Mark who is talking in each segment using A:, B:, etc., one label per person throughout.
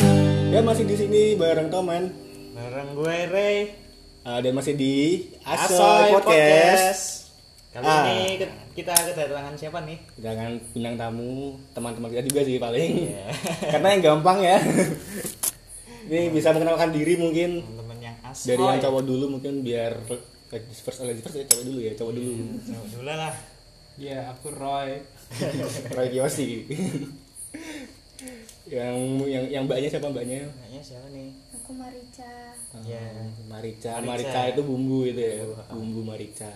A: Anda masih di sini bareng Toman.
B: Bareng gue Ray
A: Ah, dan masih di Asoy,
B: Asoy
A: Podcast.
B: Kali
A: Ah.
B: ini ke- kita kedatangan siapa nih?
A: Dengan bintang tamu teman-teman kita juga sih paling.
B: Iya.
A: Karena yang gampang ya. Ini bisa mengenalkan diri mungkin
B: Temen yang asoy
A: dari yang cowok dulu mungkin biar ladies first eh, ladies first ya cowok dulu ya cowok dulu.
B: Cowok dulu lah
C: Iya, aku Roy.
A: Roy Kiyoshi. yang yang yang mbaknya siapa mbaknya?
B: Kayaknya siapa nih?
D: Aku Marica.
B: Iya.
A: Marica.
B: Marica.
A: Marica Hmm, itu bumbu itu ya, bumbu marica.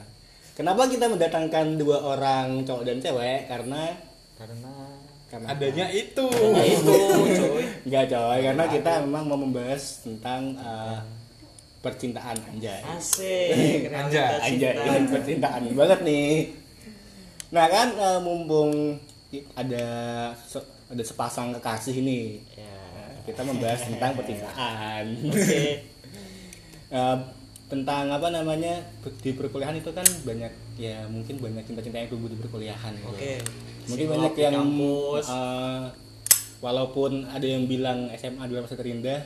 A: Kenapa kita mendatangkan dua orang cowok dan cewek? Karena
B: Karena
A: karena
C: Adanya itu.
B: Ya itu cuy
A: enggak coy, karena kita memang mau membahas tentang eh, percintaan anjay.
B: Asik Kenal
C: Anjay,
B: kita
A: Anjay, Iya,
B: cinta.
A: ini Ah, percintaan banget nih. Nah, kan eh, mumpung i- ada se- ada sepasang kekasih nih.
B: Ya
A: Kita membahas tentang percintaan.
B: Oke
A: Eh, tentang apa namanya di perkuliahan itu kan banyak ya mungkin banyak cinta-cinta yang tumbuh di perkuliahan gitu.
B: Oke
A: mungkin
B: Psikolog
A: banyak
B: di
A: yang
B: kampus
A: eh, walaupun ada yang bilang SMA adalah masa terindah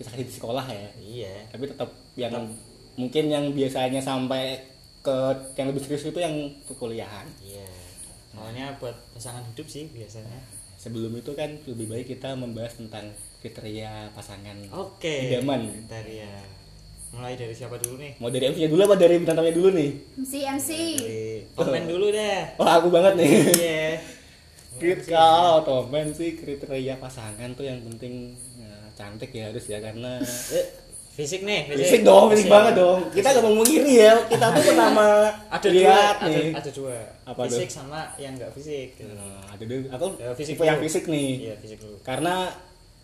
A: kisah di sekolah ya
B: Iya
A: tapi tetap yang mungkin yang biasanya sampai ke yang lebih serius itu yang perkuliahan
B: Iya Soalnya buat pasangan hidup sih biasanya
A: sebelum itu kan lebih baik kita membahas tentang kriteria pasangan
B: Oh. Oke
A: Idaman.
B: Dari ya Mulai dari siapa dulu nih?
A: mau dari MC-nya dulu apa dari bintang tamunya dulu nih
D: MC MC.
A: Iya,
B: Dari
A: Oh.
B: Komen dulu deh
A: wah aku banget nih
B: Iya.
A: Krit- kalau Tomen sih kriteria pasangan tuh yang penting ya, cantik ya harus ya karena
B: Eh, fisik nih,
A: fisik dong, fisik banget dong. Kita gak mau mengiri ya, kita tuh pertama
B: Ada
A: lihat
B: dua,
A: Iya, nih.
B: Ada, ada dua.
A: Apa
B: fisik sama yang enggak fisik. gitu.
A: Nah, Ada dulu, aku
B: Ya, fisik
A: tipe yang
B: dulu.
A: fisik nih.
B: Iya, fisik dulu.
A: Karena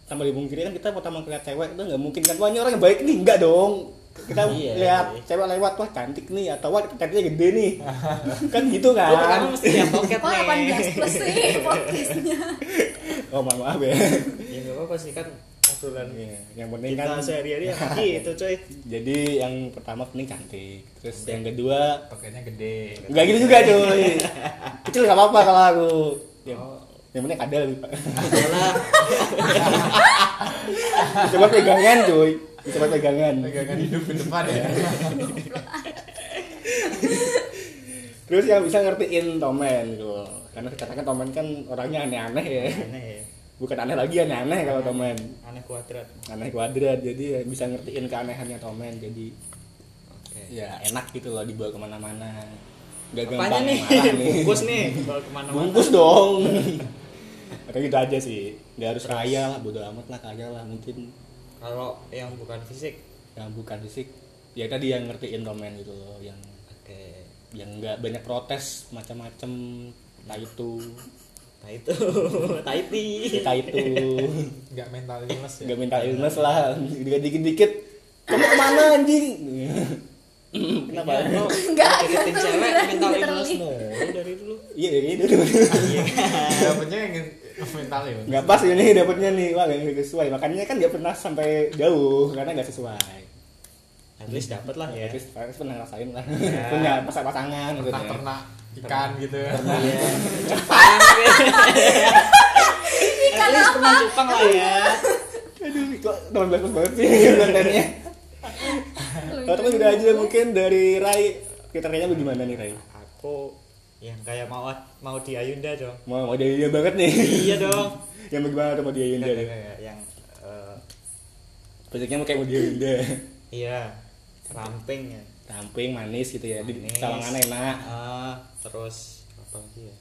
A: tanpa dipungkiri kan kita pertama lihat cewek itu nggak mungkin kan wah ini orang yang baik nih enggak dong kita
B: Iya.
A: lihat cewek lewat wah cantik nih atau wah cantiknya gede nih kan gitu
B: Lu pertama
A: kan
B: mesti yang pocket
D: Wah,
B: nih.
D: 18 plus sih podcastnya.
A: oh maaf, maaf ya
B: Ya enggak apa-apa sih kan obrolan
A: Iya, yang penting
B: kita
A: kan
B: sehari-hari ya gitu, coy.
A: Jadi yang pertama penting cantik. Terus yang kedua
C: Pakainya gede.
A: nggak gitu juga cuy. Kecil nggak apa-apa kalau aku. Yang, yang penting ada lebih.
B: Oh. Adalah
A: Coba pegangan cuy. Coba pegangan.
C: Pegangan hidup ke depan ya.
A: Terus yang bisa ngertiin Tomen gitu. Karena dikatakan Tomen kan orangnya aneh-aneh ya.
B: aneh ya.
A: Bukan aneh lagi aneh-aneh kalau Tomen.
B: Aneh kuadrat.
A: Aneh kuadrat jadi ya bisa ngertiin keanehannya Tomen jadi
B: Oke.
A: ya enak gitu loh dibawa kemana-mana. Gak
B: Apanya
A: gampang
B: nih?
A: marah nih.
B: Bungkus nih, kalau kemana mana
A: bungkus dong atau gitu aja sih nggak harus kaya lah bodo amat lah kaya lah mungkin
B: Kalau yang bukan fisik.
A: yang bukan fisik ya tadi yang ngertiin komen gitu loh yang
B: Oke.
A: yang nggak banyak protes macam-macam tak itu
B: Nah itu, Taiti.
A: kita itu
C: Enggak mental illness ya.
A: nggak minta illness lah dikit-dikit kamu kemana anjing kenapa
B: Kenapa?
D: Enggak,
B: Iya. Deketin
D: gitu,
B: cewek
D: beneran,
B: mental
D: literally.
B: illness mulu dari dulu.
A: iya iya gitu
C: Dapatnya yang mental illness.
A: nggak pas ini dapetnya nih wah nggak sesuai makanya kan nggak pernah sampai jauh karena nggak sesuai
B: At least dapat lah
A: Ya,
B: ya.
A: terus terus pernah ngerasain lah.
B: Ya.
A: Punya pasang pasangan gitu.
C: Ternak ternak ikan gitu.
B: Iya. Jepang. At least pernah Jepang lah ya.
A: Aduh, kok teman bagus banget sih kontennya.
B: Oh, iya.
A: Kalau teman kan udah aja mungkin dari Rai kriteria lu gimana nih Rai?
B: Aku yang kayak mau mau di Ayunda dong.
A: Mau mau dia banget nih.
B: Iya dong.
A: Yang bagaimana tuh mau dia Yunda?
B: Enggak, enggak, enggak. Yang eh,
A: Basicnya mau kayak mau dia Yunda.
B: iya ramping ya.
A: Tamping manis gitu ya. Di
B: Manis.
A: sawangan enak.
B: Ah, terus apa lagi ya?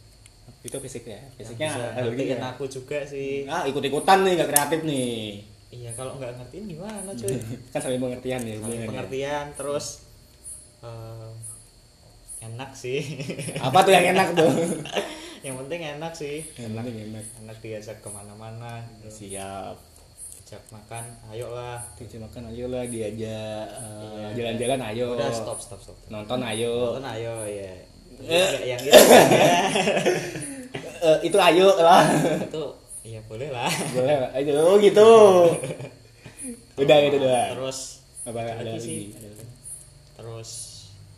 A: Itu fisik ya.
B: Yang
A: Fisiknya
B: bisa
A: ada gitu
B: ngertiin
A: ya.
B: aku juga sih.
A: Ah, ikut-ikutan nih, gak kreatif nih.
B: Iya, kalau nggak ngertiin gimana cuy?
A: Kan saling pengertian ya.
B: Saling
A: hubungannya.
B: pengertian terus eh, enak sih.
A: Apa tuh yang enak tuh?
B: yang penting enak sih.
A: enak, enak.
B: enak diajak kemana-mana gitu.
A: Siap.
B: ajak makan ayolah
A: Diajak makan ayo lah diajak eh, jalan-jalan ayo.
B: Iya. udah stop stop stop
A: Nonton ayo.
B: nonton ayo ya
A: Oh. Eh.
B: Enggak yang gitu ya.
A: Eh, itu ayo lah.
B: itu iya boleh lah
A: Boleh lah. Ayo oh, gitu. Udah gitu udah.
B: terus
A: Apa ada
B: lagi
A: lagi?
B: sih? terus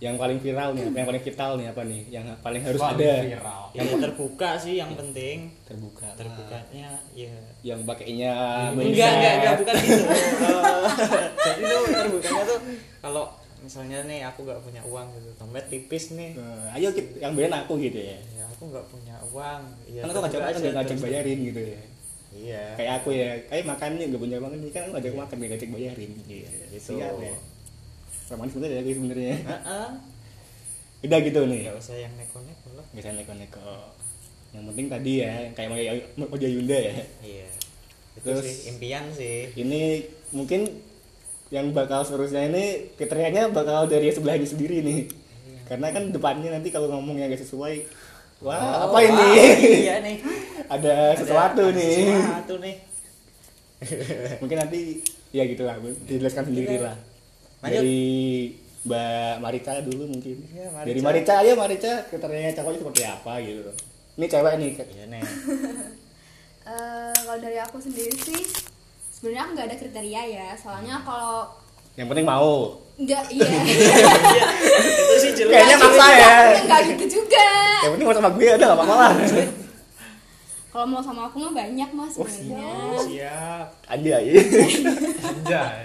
A: yang paling viral nih apa yang paling vital nih apa nih yang paling harus
C: Wah,
A: ada
C: viral.
B: yang terbuka sih yang penting
A: terbuka
B: terbukanya ya
A: yang pakainya
B: enggak enggak enggak bukan gitu Eh, jadi tuh terbukanya tuh kalau misalnya nih aku nggak punya uang gitu dompet tipis nih
A: Eh, ayo kita, yang bayarin aku gitu ya
B: ya aku nggak punya uang ya
A: kan aku ngajak
B: terbuka
A: makan
B: aja,
A: nggak ngajak
B: terus-
A: bayarin gitu ya
B: iya
A: kayak aku ya kayak makan nih nggak punya makan kan aku ngajak makan nggak ngajak bayarin
B: Iya, gitu.
A: Sial ya romantis bener ya guys sebenarnya
B: Heeh.
A: udah gitu nih
B: nggak usah yang neko-neko lah
A: nggak usah neko-neko yang penting tadi ya yang kayak mau Oja Yunda ya
B: iya itu
A: Terus-
B: sih impian sih
A: ini mungkin yang bakal seterusnya ini kriterianya bakal dari sebelahnya sendiri nih karena kan depannya nanti kalau ngomong yang gak sesuai wah Ah, apa ini
B: Oh, iya nih
A: ada sesuatu
B: Ada- ada
A: nih
B: sesuatu nih
A: mungkin nanti ya gitulah dijelaskan sendiri lah
B: Iya. Lanjut.
A: dari Mbak Marica dulu mungkin
B: Iya, Marica.
A: dari Marica aja Marica kriterianya cowoknya seperti apa gitu ini cewek nih
B: iya nih
D: Eh, kalau dari aku sendiri sih sebenarnya aku nggak ada kriteria ya soalnya kalau
A: yang penting mau
D: nggak iya
B: itu sih jelas
A: Kayaknya maksa ya.
D: nggak gitu juga
A: yang penting mau sama gue ada gak apa-apa lah
D: kalau mau sama aku mah banyak mas
A: Oh,
D: sebenarnya
C: Iya.
B: siap
A: ada ya
C: Anjay.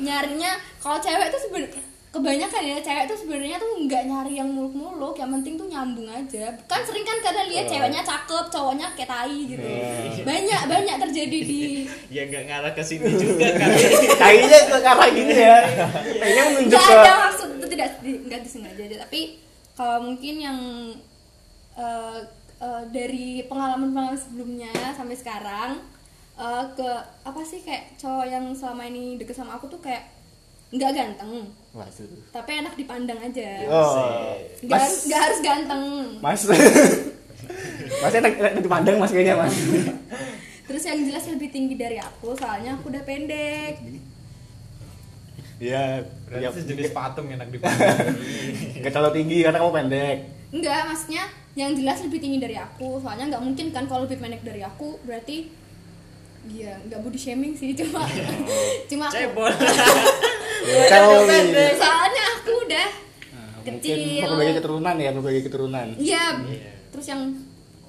D: nyarinya kalau cewek tuh sebenarnya kebanyakan ya cewek tuh sebenarnya tuh nggak nyari yang muluk-muluk yang penting tuh nyambung aja kan sering kan kadang lihat
A: Oh.
D: ceweknya cakep cowoknya kayak tai gitu
A: Iya.
D: banyak banyak terjadi di
B: ya nggak ngarah ke sini juga kan, kali
A: kayaknya ke arah gini ya kayaknya menunjuk
D: nggak
A: ke
D: ada maksud itu tidak di- nggak disengaja aja tapi kalau mungkin yang eh, eh, dari pengalaman pengalaman sebelumnya sampai sekarang eh, ke apa sih kayak cowok yang selama ini deket sama aku tuh kayak nggak ganteng tapi enak dipandang aja
A: oh
D: nggak
A: mas
D: harus nggak harus ganteng
A: mas mas enak enak dipandang mas kayaknya mas
D: terus yang jelas lebih tinggi dari aku soalnya aku udah pendek
A: iya
C: Berarti
A: ya,
C: sejenis patung enak dipandang.
A: nggak terlalu tinggi karena kamu pendek
D: Enggak, maksudnya yang jelas lebih tinggi dari aku. Soalnya nggak mungkin kan kalau lebih pendek dari aku, berarti ya nggak body shaming sih cuma cuma aku-
B: cebol
A: kalau
D: soalnya aku udah
A: Nah, mungkin
D: kecil.
A: berbagai keturunan ya berbagai keturunan
D: Iya. Terus yang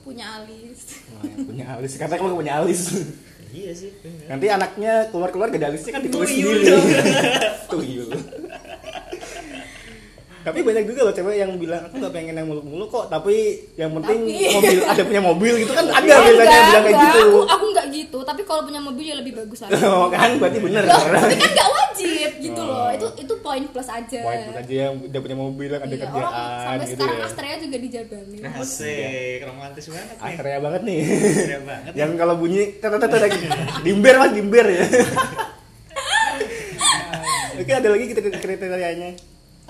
D: punya alis.
A: Wah, yang punya alis karena kamu nggak punya alis
B: iya sih bener.
A: nanti anaknya keluar keluar gak ada alisnya kan ditulis
B: Tuyul
A: sendiri
B: dong.
A: tuyul tapi banyak juga loh cewek yang bilang aku nggak pengen yang muluk-muluk kok tapi yang penting
D: Tapi- Iya,
A: mobil ada punya mobil gitu kan ada
D: Enggak,
A: biasanya yang bilang kayak
D: enggak.
A: gitu
D: Aku aku nggak gitu, tapi kalau punya mobil ya lebih bagus lagi.
A: oh kan berarti bener
D: Loh, tapi kan nggak wajib gitu loh. Itu itu poin plus aja.
A: poin buat aja yang udah punya mobil yang ada
D: Iya, orang
A: kerjaan
D: sampai
A: gitu
D: sekarang
A: ya
D: Astrea juga dijabangin.
A: Nah,
B: Nah,
A: iya.
B: asik romantis banget nih
A: Astrea banget nih
B: Keren banget
A: yang kalau bunyi tetetet lagi dimber mas dimber ya Oke ada lagi kriteria- kriterianya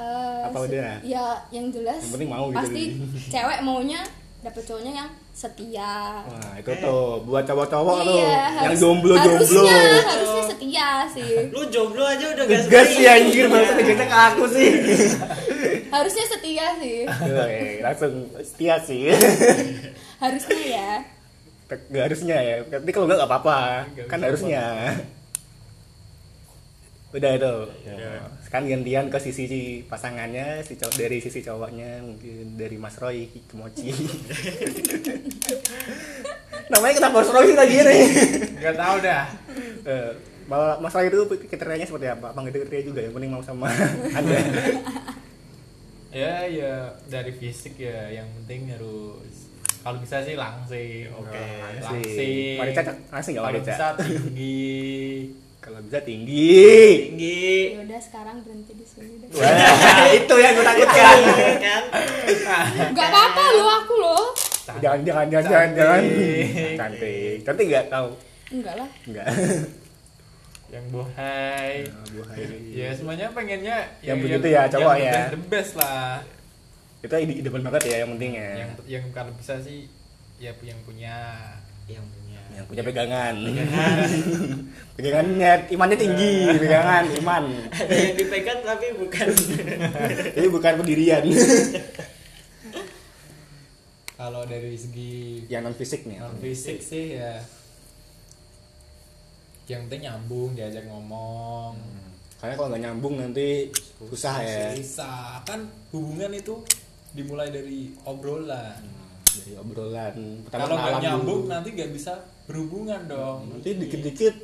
D: Eh,
A: Apa
D: se-
A: udah?
D: Ya, yang jelas.
A: Yang penting mau gitu.
D: Pasti cewek maunya dapet cowoknya yang setia.
A: Wah itu tuh buat cowok-cowok tuh yang
D: Iya, harus-
A: jomblo-jomblo
D: Harusnya, harusnya setia sih.
B: lu jomblo aja udah gak
A: Gas sih
B: setia.
A: anjir masa ngegesek ke aku sih
D: harusnya setia sih.
A: Oke, Iya, langsung setia sih
D: Harusnya ya.
A: Gak harusnya ya Tapi kalau enggak gak apa-apa
C: Nggak
A: Kan
C: bisa
A: harusnya Udah itu
C: Iya.
A: Iya.
B: Udah.
A: Sekarang gantian ke sisi si pasangannya si cowok, Dari sisi cowoknya Mungkin dari Mas Roy Kemoci Namanya kenapa Mas Roy lagi nih
C: Enggak tahu dah.
A: Eh, Malah Mas Roy itu kriterianya seperti apa? Apa nggak ada kriteria juga yang penting mau sama Anda
C: Ya ya dari fisik ya yang penting harus kalau bisa sih langsing.
B: Oke,
C: langsing.
A: Wanita langsing nggak
C: Kalau
A: wanita?
C: bisa tinggi.
A: Kalau bisa tinggi.
B: tinggi
D: Ya udah sekarang berhenti di sini deh.
A: Wah, itu yang gue takutkan.
B: Iya kan
D: Gak apa-apa lo aku loh.
A: jangan, jangan, jangan, jangan, jangan.
C: Cantik.
A: Cantik. Cantik nggak tahu?
D: Enggak lah.
A: Nggak.
C: Yang bohai. Ya semuanya pengennya
A: Iya. Yang begitu ya, cowok
C: yang
A: ya.
C: The best, the best lah.
A: Itu ide ide banget ya yang penting ya.
C: Yang yang kalau bisa sih ya yang punya.
B: yang punya
A: Yang punya pegangan.
B: Pegangan.
A: Pegangannya imannya tinggi, pegangan iman.
B: ada yang dipegang tapi bukan
A: Jadi bukan pendirian.
C: Kalau dari segi
A: yang non fisik nih.
C: non fisik sih ya yang penting nyambung diajak ngomong
A: karena kalau nggak nyambung nanti susah ya
E: Bisa kan hubungan itu dimulai dari obrolan.
A: dari Nah, obrolan pertama
E: Kalau nggak
A: kenalan dulu.
E: nyambung nanti nggak bisa berhubungan dong.
A: nanti dikit-dikit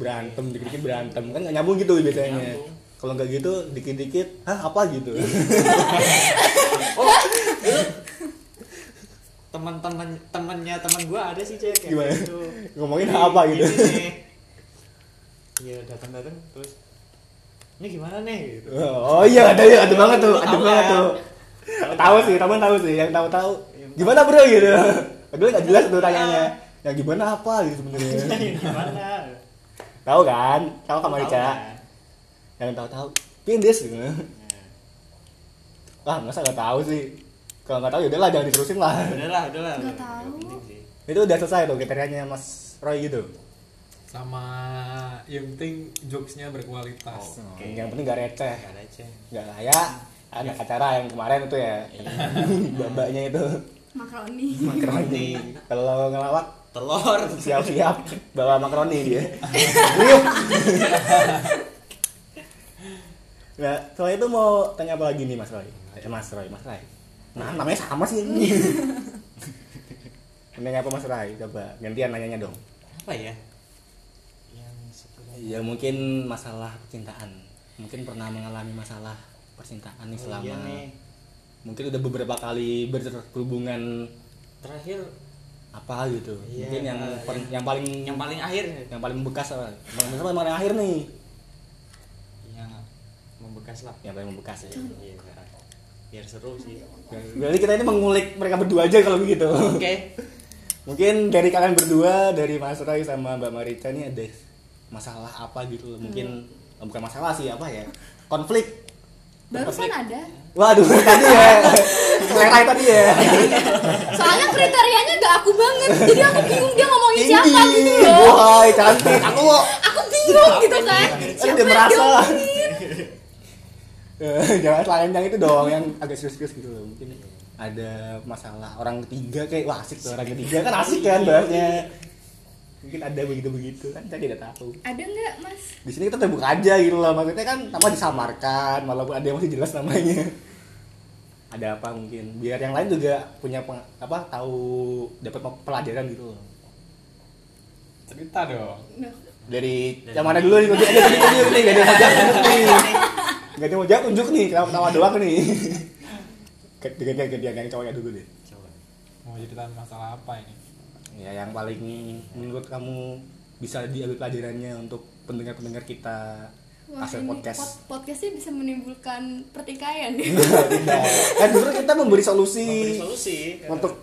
A: berantem dikit-dikit berantem kan nggak nyambung gitu biasanya kalau nggak gitu dikit-dikit hah apa gitu
B: teman-teman temannya teman gue ada sih cewek kayak
A: Gimana?
B: gitu.
A: ngomongin hah apa gitu
B: Ini nih. iya datang datang terus ini gimana nih gitu
A: oh iya ada ya ada banget tuh ada
B: Tahu
A: banget
B: kan?
A: tuh tahu kan? sih teman tahu sih yang tahu-tahu
B: Yang tahu.
A: gimana bro gitu padahal nggak jelas tuh tanyanya ya gimana apa gitu sebenarnya
B: Ini gimana
A: tahu kan tahu kamar
B: Iya. Tahu
A: Ica
B: kan?
A: yang tahu-tahu pindes gitu
B: Nah.
A: lah masa nggak tahu sih kalau nggak tahu ya udahlah jangan diterusin lah
B: udah lah udah lah Nah,
D: Nggak
B: udah.
D: tahu.
B: Nggak penting sih.
A: itu udah selesai tuh kriterianya mas Roy gitu
E: Sama yang penting jokesnya berkualitas.
A: Oke. yang penting gak receh
B: Nggak ada aja
A: nggak layak ada acara yang kemarin itu ya babaknya itu
D: makaroni
A: makaroni kalau ngelawak
B: telur
A: siap-siap bawa makaroni dia Yuk. nah setelah itu mau tanya apa lagi nih mas Roy eh, mas Roy mas Roy nah namanya sama sih ini Nanya apa Mas Rai? Coba gantian nanyanya dong.
B: apa ya yang sebenarnya
A: Ya mungkin masalah percintaan. Mungkin pernah mengalami masalah percintaan nih selama
B: iya nih
A: mungkin udah beberapa kali berhubungan
B: terakhir
A: apa gitu
B: Iya,
A: mungkin yang
B: yang-
A: per- yang paling
B: yang paling akhir
A: yang paling bekas apa yang paling paling akhir nih
B: yang membekas lah
A: yang paling bekas ya
B: Iya. biar seru sih
A: berarti kita ini mengulik mereka berdua aja kalau begitu
B: oke
A: mungkin dari kalian berdua dari Mas Roy sama Mbak Marita ini ada masalah apa gitu loh. mungkin eh,
B: Hmm.
A: bukan masalah sih apa ya konflik
D: barusan kan ada
A: waduh tadi ya selerai tadi ya
D: soalnya kriterianya gak aku banget jadi aku bingung dia ngomongin siapa
A: Indi,
D: gitu loh
A: wahai cantik aku loh
D: aku bingung gitu kan
A: Kan dia merasa Eh, jangan selain yang itu dong yang agak serius-serius gitu loh mungkin ada masalah orang ketiga kayak wah asik tuh orang ketiga kan asik kan bahasnya mungkin ada begitu-begitu kan saya tidak tahu
D: ada nggak mas
A: di sini kita terbuka aja gitu loh maksudnya kan tanpa disamarkan walaupun ada yang masih jelas namanya ada apa mungkin biar yang lain juga punya peng- apa tahu dapat pe- pelajaran gitu loh
C: cerita dong
D: Duh,
A: dari yang mana dulu nih Gak ada yang mau jawab nih gak ada yang mau jawab tunjuk nih gak ada yang mau jawab tunjuk nih ketawa ketawa doang nih gantian gantian yang cowoknya dulu deh
B: coba
C: mau cerita masalah apa ini
A: ya yang paling menurut kamu bisa diambil pelajarannya untuk pendengar pendengar kita
D: Wah,
A: Aset
D: ini
A: podcast.
D: pod- podcastnya bisa menimbulkan pertikaian
A: tidak kan justru kita memberi solusi
B: Memberi solusi kan? karena-
A: untuk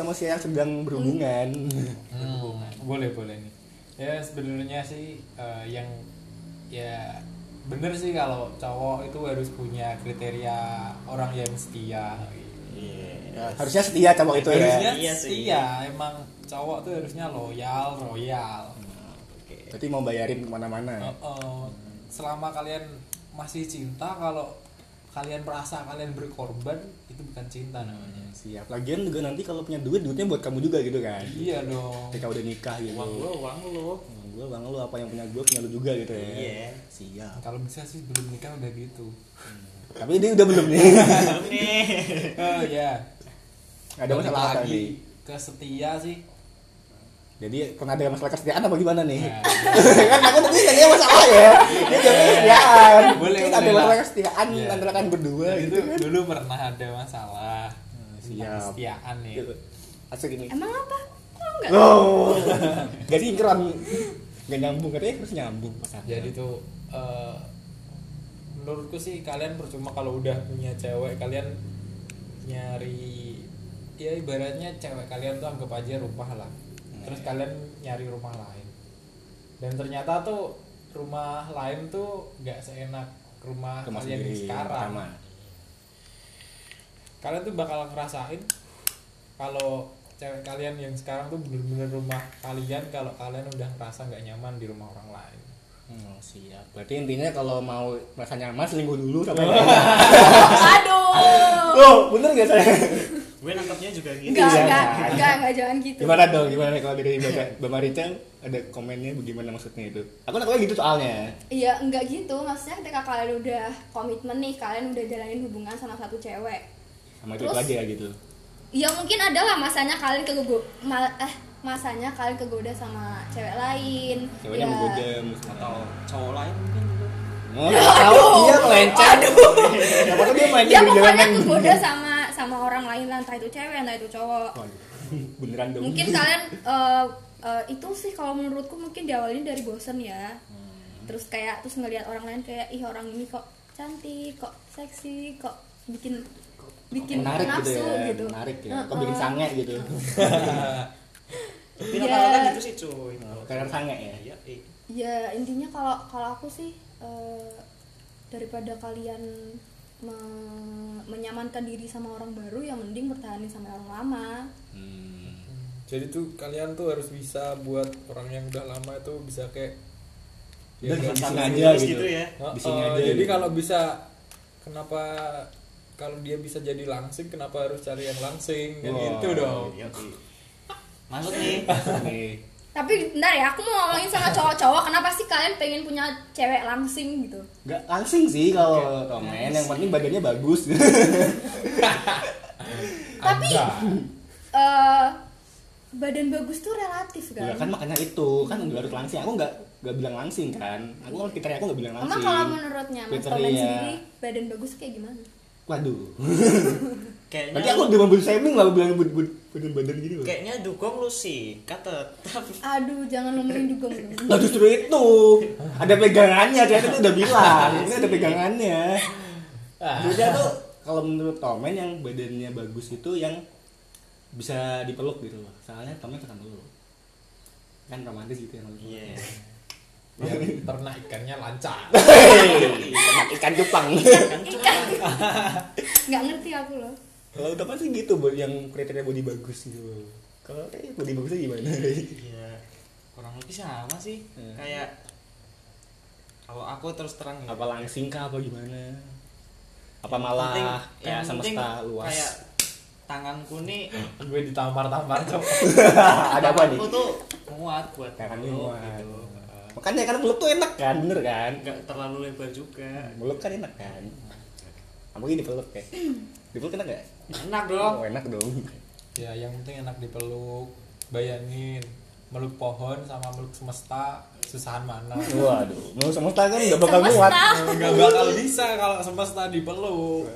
A: manusia yang sedang berhubungan
D: Hmm.
C: berhubungan boleh boleh nih ya sebenarnya sih eh, yang ya bener sih kalau cowok itu harus punya kriteria orang yang setia
B: Iya.
A: Ya, harusnya setia cowok itu
C: harusnya
A: ya
B: Iya sih.
C: setia emang cowok tuh harusnya loyal royal
B: oke
A: berarti mau bayarin kemana-mana
C: Uh-uh.
E: Selama kalian masih cinta kalau kalian merasa kalian berkorban itu bukan cinta namanya.
A: siap lagian juga nanti kalau punya duit duitnya buat kamu juga gitu kan
E: Iya dong.
A: ketika udah nikah gitu
B: uang lo uang lo
A: Uang gua bang lu apa yang punya gua punya lu juga gitu ya
B: Iya.
A: siap
E: Kalau bisa sih belum nikah udah gitu.
A: tapi dia udah belum nih
B: nih
E: Oh ya.
A: Eh, iya. ada masalah apa
E: lagi
A: nih
E: ke setia sih.
A: jadi pernah ada masalah kesetiaan apa gimana nih
C: Nah, Iya.
A: kan aku tadi nanya masalah ya dia jawabnya kesetiaan
C: Boleh,
A: Kita ada
C: boleh lah.
A: masalah kesetiaan
C: Iya.
A: antara kalian berdua gitu Hmm,
C: itu dulu pernah ada masalah tentang
A: siap. Gitu.
C: kesetiaan ya
A: asik ini
D: emang apa Kok nggak
A: Loh. Gak sinkron. Gak nyambung katanya terus nyambung.
E: Jadi tuh eh, menurutku sih kalian percuma kalau udah punya cewek kalian nyari ya ibaratnya cewek kalian tuh anggap aja rumah lah. Terus kalian nyari rumah lain. Dan ternyata tuh rumah lain tuh nggak seenak rumah,
A: Kemas
E: kalian yang
A: sendiri
E: sekarang.
A: pertama.
E: Kalian tuh bakal ngerasain kalau cewek kalian yang sekarang tuh bener-bener rumah kalian kalau kalian udah ngerasa nggak nyaman di rumah orang lain.
A: Hmm, siap. Berarti intinya kalau mau
C: Oh.
A: merasa nyaman selingkuh dulu sama
D: aduh
A: Loh, bener gak saya?
B: gue nangkepnya juga gitu
D: Enggak,
A: Iya.
D: enggak, enggak, enggak, jangan gitu.
A: Gimana dong? Gimana kalau dari Mbak Mbak Marica ada komennya bagaimana maksudnya itu? Aku nangkepnya gitu soalnya.
D: Iya, enggak gitu. Maksudnya ketika kalian udah komitmen nih, kalian udah jalanin hubungan sama satu cewek.
A: Sama itu, itu
D: Terus?
A: aja gitu.
D: Ya mungkin adalah masanya kalian kegogo mal- eh masanya kalian kegoda sama cewek lain.
A: Ceweknya
D: Ya.
A: mau godem atau
B: atau cowok lain mungkin gitu
A: Oh, nggak tahu dia melenceng. Ya pokoknya dia melenceng
D: Ya
A: di
D: pokoknya
A: jalanan.
D: kegoda sama sama orang lain, lah, entah itu cewek, entah itu cowok.
A: Waduh, Beneran dong.
D: mungkin kalian eh, eh, itu sih kalau menurutku mungkin diawalin dari bosen ya
A: Hmm.
D: terus kayak terus ngelihat orang lain kayak ih orang ini kok cantik kok seksi kok bikin bikin
A: menarik gitu
D: nafsu
A: ya,
D: gitu,
A: menarik ya.
D: Heeh.
A: Kok bikin sange gitu.
E: Eh,
B: tapi
D: Iya.
B: rata-rata gitu sih cuy
A: Kalian sange ya.
B: iya iya.
D: ya intinya kalau kalau aku sih eh, daripada kalian me- menyamankan diri sama orang baru ya mending bertahanin sama orang lama
A: Hmm.
E: jadi tuh kalian tuh harus bisa buat orang yang udah lama itu bisa kayak ya
A: Udah di
E: kayak-
A: sini
B: santai
A: aja
B: terus
A: gitu.
B: gitu ya.
E: Oh,
A: Di sini
E: oh,
A: aja.
E: jadi
A: gitu.
E: kalau bisa kenapa kalau dia bisa jadi langsing kenapa harus cari yang langsing kan
A: Wah.
E: gitu dong
B: Iya, iya. masuk nih
A: Nih.
D: tapi bentar ya aku mau ngomongin sama cowok-cowok kenapa sih kalian pengen punya cewek langsing gitu
A: Gak langsing sih kalau komen, yang penting badannya bagus.
D: tapi eh badan bagus tuh relatif
A: Ya kan
D: kan,
A: makanya itu, kan gak harus langsing. Aku gak, gak bilang langsing kan. Aku kalau kriteria aku gak bilang
D: emang
A: langsing.
D: kalau menurutnya mas Tomen
A: Kriteria.
D: sendiri Iya. badan bagus kayak gimana
A: Waduh.
B: kayaknya
A: Nanti aku udah mobil shaming lah bilang bud- bud- badan-badan gini loh.
B: kayaknya dukung lu sih Kan kata
D: aduh jangan ngomongin juga
A: Nah justru itu ada pegangannya, dia itu udah bilang ini ada pegangannya.
D: Ah.
A: Beda tuh kalau menurut Tomen yang badannya bagus itu yang bisa dipeluk gitu loh. Soalnya Tomen suka peluk. Kan romantis gitu ya.
B: iya
E: biar
A: Iya.
E: ternak ikannya lancar
A: Hei, Makan ikan Jepang.
B: Kan
D: ikan nggak ngerti aku loh
A: Kalau Tomen sih gitu buat yang kriteria body bagus gitu. loh. Kalau eh, body bagusnya gimana?
B: iya kurang lebih sama sih
A: Iya.
B: kayak kalau aku terus terang ya,
A: apa langsing kah apa gimana? Apa
B: yang
A: malah
B: penting-
A: kayak
B: yang penting
A: semesta luas?
B: kayak tanganku nih
E: gue ditampar-tampar cok
A: ada apa nih?
B: aku tuh muat buat
A: Tangan
B: meluk
A: muat.
B: gitu
A: Makanya kan meluk tuh enak kan, bener kan?
B: nggak terlalu lebar juga
A: Meluk kan enak kan? Apalagi dipeluk ya? Dipeluk enak gak?
B: enak dong
A: Oh enak dong
E: ya yang penting enak dipeluk bayangin meluk pohon sama meluk semesta susahan mana
A: Waduh, meluk semesta kan gak bakal
D: Semesta.
A: muat
E: nggak bakal bisa kalau semesta dipeluk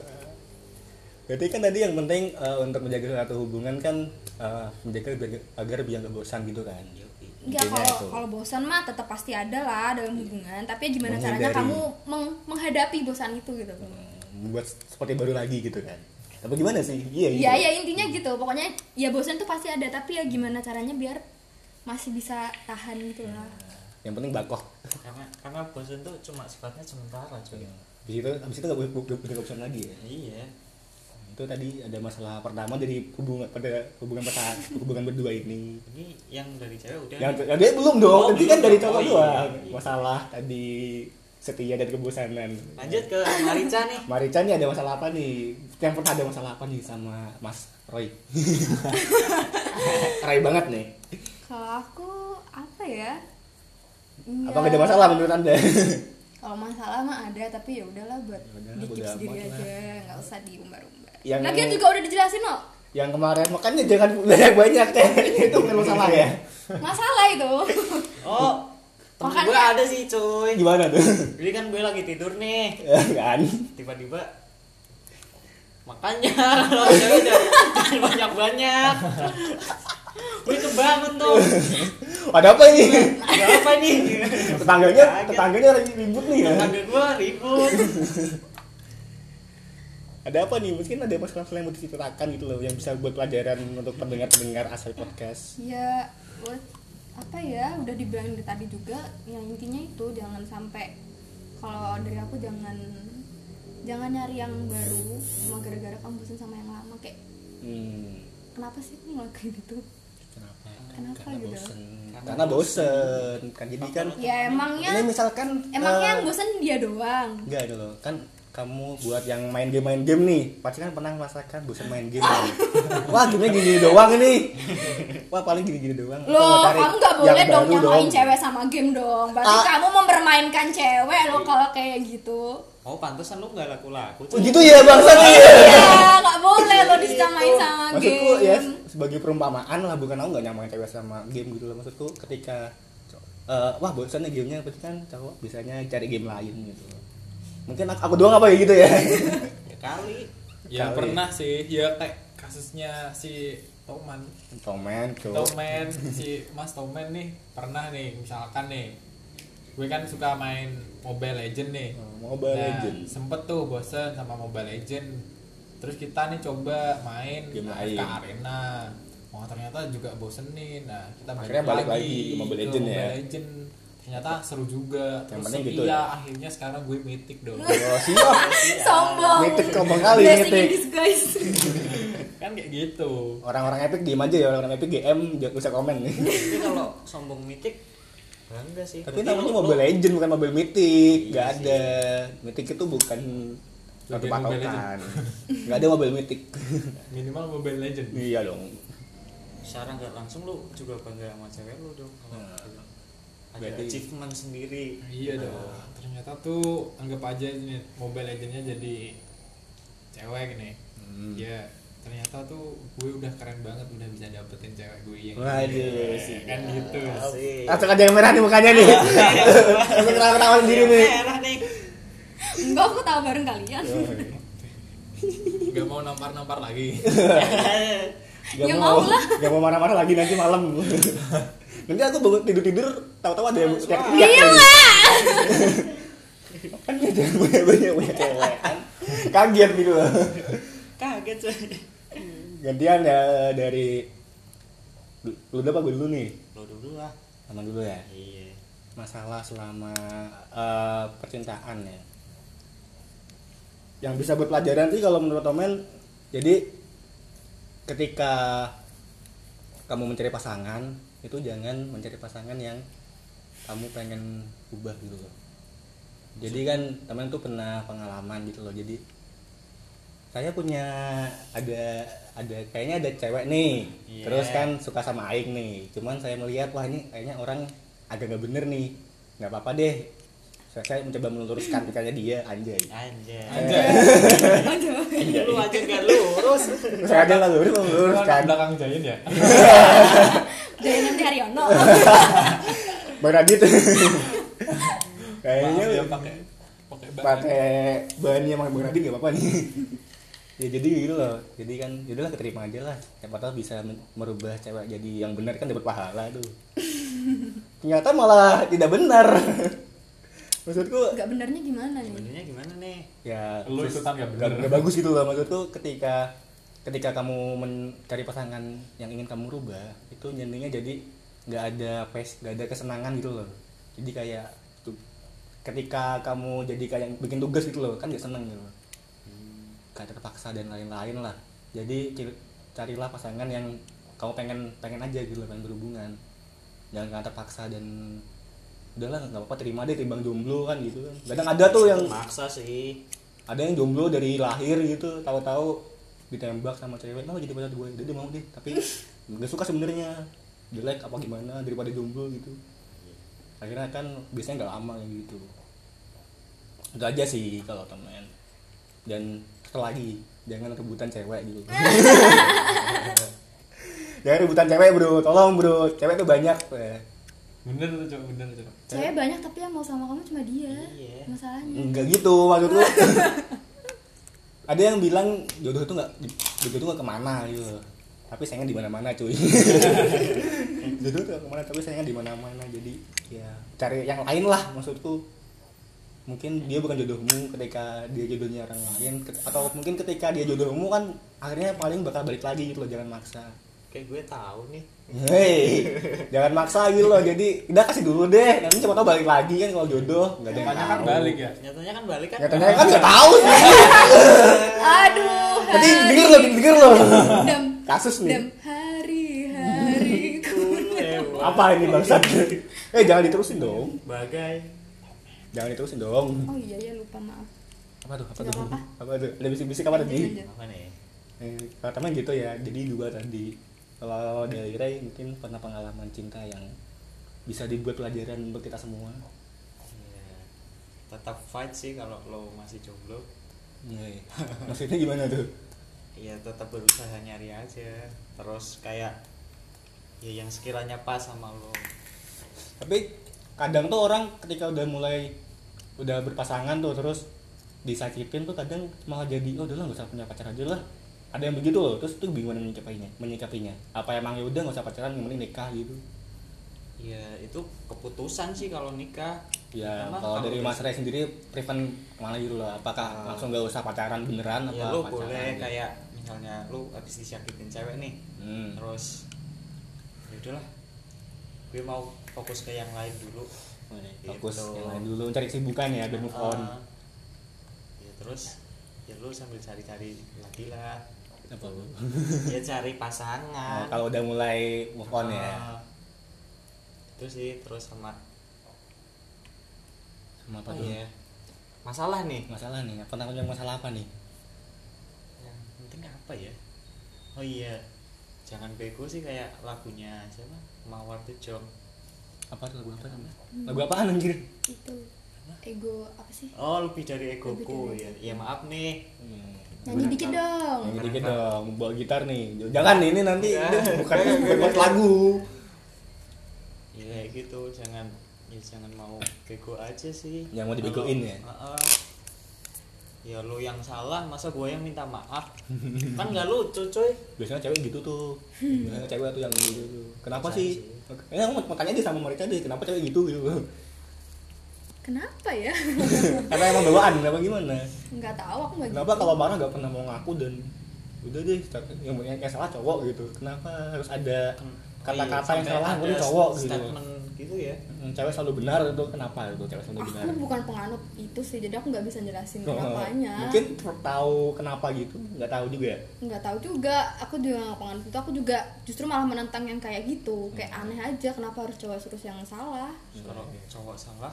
A: Berarti kan tadi yang penting eh, untuk menjaga satu hubungan kan eh, menjaga biar- agar biar gak bosan gitu kan
D: nggak
A: Intinya
D: kalau
A: itu.
D: kalau bosan mah tetap pasti ada lah dalam hubungan tapi ya gimana caranya
A: Menghindari.
D: kamu meng- menghadapi bosan itu gitu
A: Membuat seperti baru lagi gitu kan Apa gimana sih? Iya gitu.
D: ya ya intinya gitu pokoknya ya bosan tuh pasti ada tapi ya gimana caranya biar masih bisa tahan gitu lah
A: Yang penting bakoh
B: karena karena bosan tuh cuma sifatnya sementara cuy
A: Abis itu, abis itu gak, boleh- gak, gak bosan lagi ya
B: iya
A: itu tadi ada masalah pertama dari hubungan pada hubungan pertama hubungan berdua ini
B: ini yang dari cewek udah
A: yang yang dia belum dong
B: Oh,
A: tadi
B: belum
A: kan dari
B: dong.
A: cowok
B: Oh, iya.
A: doang masalah tadi setia dan kebosanan
B: lanjut ke Marica nih
A: Marica nih ada masalah apa nih yang pernah ada masalah apa nih sama Mas Roy Roy banget nih
D: Kalau aku apa ya?
A: apa nggak ada masalah menurut anda
D: Kalau masalah mah ada tapi ya udahlah buat
A: Ya udahlah,
D: dikit
A: bodo
D: sendiri
A: amat lah.
D: aja, nggak usah diumbar-umbar.
A: Yang-
D: Lagian juga udah dijelasin loh,
A: yang kemarin makanya jangan banyak banyak teh itu bukan masalah ya
D: masalah itu.
B: oh temen
D: Makan
B: gue
D: nggak?
B: ada sih cuy
A: gimana tuh
B: jadi kan gue lagi tidur nih
A: Ya kan
B: tiba-tiba makanya kalau cewek jangan jangan banyak-banyak gue kebangun tuh
A: ada apa ini
B: ada apa nih
A: tetangganya tetangganya lagi ribut nih ya
B: tetangga gue ribut
A: ada apa nih mungkin ada masalah-masalah yang mau diceritakan gitu loh yang bisa buat pelajaran untuk pendengar-pendengar asal podcast
D: Ya buat apa ya? Udah dibilangin dari tadi juga. Yang intinya itu jangan sampai kalau dari aku jangan jangan nyari yang baru cuma gara-gara kamu bosan sama yang lama kayak
A: hmm,
D: kenapa sih aku ngelakuin itu
A: kenapa
D: Kenapa
A: karena
D: gitu?
A: bosen karena bosen kan jadi kan
D: ya emangnya
A: ini misalkan
D: emangnya yang
A: eh,
D: bosan dia doang
A: enggak gitu loh kan kamu buat yang main game main game nih pasti kan pernah merasakan bosan main game kan? wah gamenya gini gini doang ini wah paling gini gini doang Aku mau
D: Loh,
A: cari
D: kamu nggak
A: yang
D: boleh dong
A: baru
D: nyamain cewek sama game dong. Berarti
A: Ah.
D: kamu mempermainkan cewek lo kalau kayak gitu.
B: oh pantesan lu nggak laku laku
A: Oh, gitu ya bangsa nih
D: Iya, nggak boleh lo disamain sama
A: Gitu. maksudku
D: game.
A: ya sebagai perumpamaan lah bukan aku nggak nyamain cewek sama game gitu loh maksudku ketika eh, wah bosannya gamenya pasti kan cowok biasanya cari game lain gitu loh. mungkin aku, aku doang apa ya gitu ya
B: ya kali
E: ya
A: Kali.
E: pernah sih ya kayak kasusnya si Toman
A: Tomen, cowok
E: Tomen si Mas Tomen nih pernah nih misalkan nih gue kan suka main Mobile Legend nih
A: Mobile
E: Nah,
A: Legends
E: sempet tuh bosen sama Mobile Legend terus kita nih coba main
A: Game
E: AFK
A: lain.
E: Arena Wah ternyata juga bosen nih nah kita
A: Akhirnya balik lagi ke Mobile
E: ke
A: Legend ya.
E: Mobile Legend. ternyata seru juga
A: Yang
E: terus
A: penting gitu
E: setia,
A: ya.
E: akhirnya sekarang gue mythic dong
A: Oh, siap.
D: Sombong.
A: Mythic sombong kali,
D: Blessing in
A: mythic.
D: disguise.
E: kan kayak gitu
A: Orang-orang epic diem aja ya, orang-orang epic GM jangan usah komen nih.
B: tapi kalau sombong mitik bangga sih
A: Tapi
B: Berarti
A: namanya
B: lu-
A: Mobile
B: lu-
A: Legend bukan Mobile Mythic, nggak ada. Mythic itu bukan satu
E: Lebih Mobile
A: patokan. Nggak ada Mobile Mythic.
E: minimal Mobile Legend
A: iya dong.
B: secara nggak langsung lu juga bangga sama cewek lu dong kalau
A: Nah,
B: gitu. ada
A: berarti-
B: achievement sendiri Nah,
E: Iya dong. Ternyata tuh anggap aja ini Mobile Legendnya jadi cewek nih.
A: Hmm.
E: Ya ternyata tuh gue udah keren banget udah bisa dapetin cewek gue yang
A: Waduh, sih.
E: kan gitu.
B: Asik.
A: Langsung ada yang merah di mukanya nih. Langsung ketawa-ketawa sendiri
D: Iya.
A: nih.
B: merah Eh, nih
D: Enggak, aku tahu bareng kalian.
E: Gak mau nampar-nampar lagi.
A: Gak
D: Ya
A: mau,
D: mau lah.
A: gak mau marah-marah lagi nanti malam. nanti aku bangun tidur-tidur, tahu-tahu ada yang teriak-teriak.
D: Iya
A: lagi.
D: lah.
A: Kan ada yang banyak-banyak banyak cewek kan. Kaget gitu loh.
B: kaget sih
A: gantian ya dari lu lu dulu apa gue dulu nih
B: lo dulu lah
A: sama dulu ya
B: iya
A: masalah selama eh, percintaan ya yang bisa buat pelajaran sih kalau menurut Omen jadi ketika kamu mencari pasangan itu jangan mencari pasangan yang kamu pengen ubah gitu loh jadi kan teman tuh pernah pengalaman gitu loh jadi saya punya ada ada kayaknya ada cewek nih
B: Iya.
A: terus kan suka sama Aing nih cuman saya melihat wah ini kayaknya orang agak nggak bener nih nggak apa-apa deh saya, saya mencoba meluruskan pikirannya dia anjay
B: anjay
E: Anjay.
B: lu
D: Aduh.
B: aja nggak lurus
A: saya ada lah lurus meluruskan
E: Kan belakang jain ya.
D: Dari nanti Haryono.
A: Bang Radit Iya,
E: Maaf ya
A: kayaknya
E: pakai pakai banget.
A: pakai bahannya sama Bang Radit nggak apa-apa nih ya jadi gitu loh jadi kan yaudahlah keterima aja lah siapa tahu bisa men- merubah cewek jadi yang benar kan dapat pahala tuh ternyata malah tidak benar maksudku
D: Enggak benernya gimana nih?
B: sebenarnya gimana nih
A: ya
E: Lu
A: sus-
E: ikutan nggak benar.
A: nggak nggak bagus gitu loh maksudku ketika ketika kamu mencari pasangan yang ingin kamu rubah itu nyendinya jadi nggak ada pes nggak ada kesenangan gitu loh jadi kayak tu- ketika kamu jadi kayak bikin tugas gitu loh kan nggak seneng gitu loh
E: Hmm.
A: kayak terpaksa dan lain-lain lah jadi cil- carilah pasangan yang kamu pengen pengen aja gitu loh pengen berhubungan jangan karena terpaksa dan udahlah nggak apa-apa terima deh timbang jomblo kan gitu kan kadang ada tuh yang
B: maksa sih
A: ada yang jomblo dari lahir gitu tahu-tahu ditembak sama cewek mau jadi pacar gue jadi dia mau deh tapi nggak suka sebenarnya jelek apa gimana daripada jomblo gitu akhirnya kan biasanya nggak lama kayak gitu itu aja sih kalau temen dan satu lagi jangan rebutan cewek gitu jangan rebutan cewek bro tolong bro cewek tuh banyak eh.
E: Bener tuh coba bener coba.
D: Cewek banyak tapi yang mau sama kamu cuma dia.
B: Iya.
D: Masalahnya.
A: Enggak gitu maksudku. ada yang bilang jodoh itu nggak jodoh itu nggak kemana gitu. loh. Tapi sayangnya di mana-mana cuy. jodoh itu nggak kemana tapi sayangnya di mana-mana jadi ya cari yang lain lah maksudku. Mungkin dia bukan jodohmu ketika dia jodohnya orang lain ket- atau mungkin ketika dia jodohmu kan akhirnya paling bakal balik lagi gitu loh jangan maksa.
B: kayak gue tahu nih
A: Hei, jangan maksa gitu loh. Jadi udah kasih dulu deh. Nanti siapa tahu balik lagi kan kalau jodoh nggak ada yang
E: Makanya kan
A: tahu.
E: balik ya.
B: nyatanya kan balik kan
A: Nyatanya kan nggak tahu sih. Eh.
D: Aduh.
A: Nanti
D: hari-
A: denger lo, denger lo.
D: Dem.
A: Kasus
D: Dem
A: nih.
D: hari-hariku.
B: lewat
A: Apa ini bangsat? eh jangan diterusin dong.
B: bagai
A: Jangan diterusin dong.
D: Oh iya ya iya, lupa maaf.
A: apa tuh apa
D: Nggak
A: tuh
D: apa-apa.
A: apa tuh ada bisik-bisik apa
D: Lanjut,
A: tadi
D: lanjut.
B: apa nih
A: eh, pertama gitu ya jadi dua tadi kalau dari Ray mungkin pernah pengalaman cinta yang bisa dibuat pelajaran buat kita semua
B: Iya. tetap fight sih kalau lo masih jomblo
A: Iya. maksudnya gimana tuh
B: ya tetap berusaha nyari aja terus kayak ya yang sekiranya pas sama lo
A: tapi kadang tuh orang ketika udah mulai udah berpasangan tuh terus disakitin tuh kadang malah jadi oh udahlah nggak usah punya pacar aja lah ada yang begitu loh terus tuh gimana menyikapinya menyikapinya apa emang ya udah nggak usah pacaran yang penting nikah gitu
B: ya itu keputusan sih kalau nikah
A: ya
B: Emang
A: kalau dari
B: udah-
A: mas Ray sendiri preven kemana gitu loh apakah
B: Ah.
A: langsung nggak usah pacaran beneran
B: ya
A: apa
B: lo
A: pacaran
B: boleh
A: gitu?
B: kayak misalnya lo habis disakitin cewek nih
A: Hmm.
B: terus ya udahlah gue mau fokus ke yang lain dulu
A: fokus
B: Gitu.
A: yang lain dulu cari kesibukan ya biar move on
B: Ah. ya terus ya lo sambil cari-cari lagi lah
A: apa lu?
B: ya cari
A: Nah,
B: pasangan
A: kalau udah mulai move on ya
B: Ah. itu sih terus sama
A: sama apa
B: apa
A: tuh
B: ya masalah nih
A: masalah nih apa namanya masalah apa nih
B: yang penting apa ya oh iya jangan bego sih kayak lagunya siapa mawar tejong
A: apa tuh lagu apa namanya lagu apaan anjir
D: itu Gitu. ego apa sih
B: oh lebih dari egoku
D: Lebih
B: ya ya maaf nih
D: nyanyi dikit dong
A: Yang dikit dong bawa gitar nih jangan ini nanti
B: Iya.
A: ini bukan bukan buat lagu
B: ya kayak gitu jangan ya jangan mau bego aja sih
A: Jangan mau dibegoin
B: Kalau-
A: ya?
B: Heeh. ya lu yang salah masa gue yang minta maaf kan nggak lucu cuy
A: biasanya cewek gitu tuh biasanya cewek tuh yang gitu tuh kenapa
B: Biasanya
A: sih ini aku mau tanya deh sama mereka deh kenapa cewek gitu gitu
D: kenapa ya
A: karena emang bawaan apa gimana
D: nggak tahu aku nggak
A: kenapa kalau marah nggak pernah mau ngaku dan udah deh yang yang, yang salah cowok gitu kenapa harus ada kata-kata yang
B: Sampai
A: salah
B: ada
A: mungkin cowok gitu
B: statement gitu ya
A: Hmm, cewek selalu benar itu kenapa itu cewek selalu benar
D: aku bukan penganut itu sih jadi aku nggak bisa jelasin
A: Oh,
D: kenapanya
A: mungkin tahu kenapa gitu nggak tahu juga ya
D: nggak tahu juga aku juga nggak penganut itu aku juga justru malah menentang yang kayak gitu kayak aneh aja kenapa harus cowok terus yang salah
B: kalau cowok salah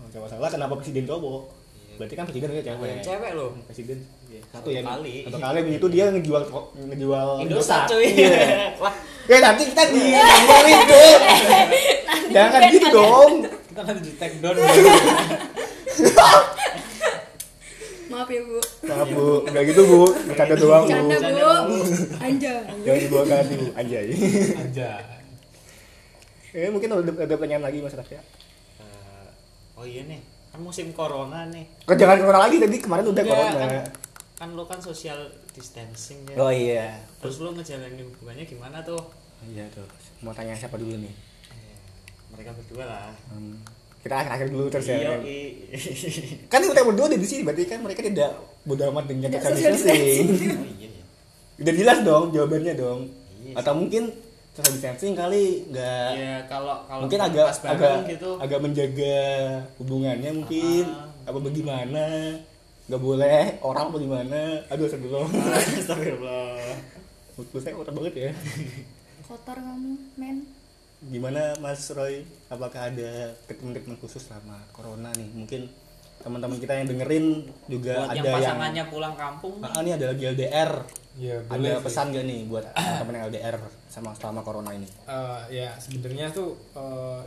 A: Oh, cowok salah kenapa presiden cowok
B: Iya.
A: berarti kan presiden itu
B: ada
A: cewek
B: yang cewek loh
A: presiden satu
B: Satu
A: ya
B: kali.
A: satu kali begitu dia ngejual ngejual
B: Indosat cuy
A: Oh, Iya.
B: Wah
A: Eh nanti kita di ngomongin deh. Jangan gitu dong.
C: kita nanti di take down
E: ya.
D: maaf ya bu
A: Maaf bu, nggak gitu bu, bercanda doang bu.
D: bercanda
B: Bercanda,
D: bu anjay
A: Jangan dibawa ke hati bu, anjay.
C: aja
A: Eh mungkin ada, ada pertanyaan lagi mas ya? Raffia.
B: Eh, Oh iya nih Kan musim corona nih
A: Kok jangan corona lagi tadi kemarin udah
B: Enggak,
A: corona.
B: kan, kan lo kan social distancing ya
A: Oh iya.
B: Terus lo ngejalanin hubungannya gimana tuh?
A: Iya tuh. Mau tanya siapa dulu nih? Iya.
B: Eh, Mereka berdua lah
A: Hmm, kita akhir-akhir dulu terus ya.
B: Iya
A: kan?
B: i.
A: Kan kita berdua ada di sini, berarti kan mereka tidak bodoh amat dengan
D: Tidak
A: social
D: social
A: distancing.
B: Oh iya ya
A: Udah jelas dong jawabannya dong.
B: Iya
A: Atau mungkin social distancing kali nggak
B: Iya kalau kalau
A: mungkin
B: kita
A: agak
B: pas bareng
A: agak
B: gitu
A: agak menjaga hubungannya mungkin
B: Ah.
A: apa bagaimana nggak boleh orang bagaimana aduh sebelum
B: Ah, Astagfirullah
A: mutu saya kotor banget ya
D: kotor kamu men
A: gimana Mas Roy apakah ada treatment-treatment khusus selama corona nih mungkin teman-teman kita yang dengerin juga
B: Buat yang
A: ada yang,
B: pasangannya pulang kampung nih.
A: Ah, ini ada lagi LDR
C: ya
A: ada
C: boleh sih.
A: pesan gak nih buat teman-teman yang LDR sama selama corona ini
C: Eh, ya sebenarnya tuh eh,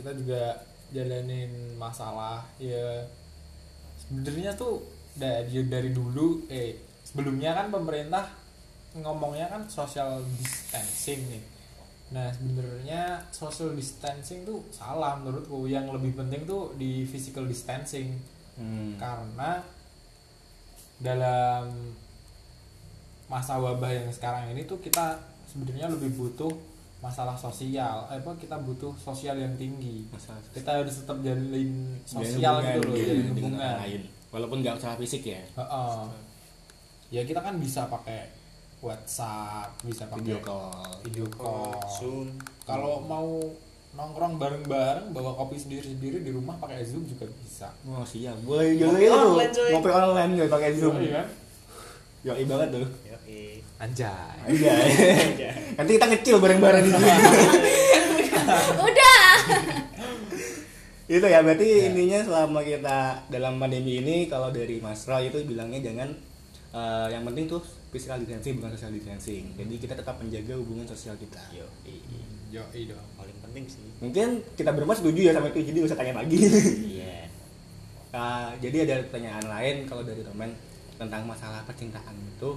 C: kita juga jalanin masalah ya sebenarnya tuh dari dari dulu eh sebelumnya kan pemerintah ngomongnya kan social distancing nih nah sebenarnya social distancing tuh salah menurutku yang lebih penting tuh di physical distancing
A: hmm.
C: karena dalam masa wabah yang sekarang ini tuh kita sebenarnya lebih butuh masalah sosial eh, apa kita butuh sosial yang tinggi
A: masalah
C: kita harus tetap jalin
A: Jalin
C: sosial
A: hubungan,
C: gitu loh
A: iya,
C: jalin
A: dengan
C: hubungan
A: orang lain walaupun nggak secara fisik ya
C: Heeh. ya kita kan bisa pakai WhatsApp bisa pakai
A: video call
C: video
B: oh,
C: call.
B: Zoom
C: kalau mau nongkrong bareng-bareng bawa kopi sendiri-sendiri di rumah pakai Zoom juga bisa
A: Oh siap, boleh juga
B: Ngopi
A: itu
B: online, cuy.
A: ngopi online gak pakai zoom.
C: Iya kan?
A: Yo, banget tuh.
B: Yo i.
C: anjay
A: Iya. Nanti kita ngecil bareng-bareng di sini.
D: udah
A: itu ya berarti intinya selama kita dalam pandemi ini kalau dari Mas Roy itu bilangnya jangan eh, yang penting tuh physical distancing bukan social distancing jadi kita tetap menjaga hubungan sosial kita
B: yo
C: Yo, iya dong.
B: paling penting sih
A: mungkin kita berempat setuju ya sama itu jadi gak usah tanya lagi
B: iya
A: Nah, jadi ada pertanyaan lain kalau dari temen tentang masalah percintaan itu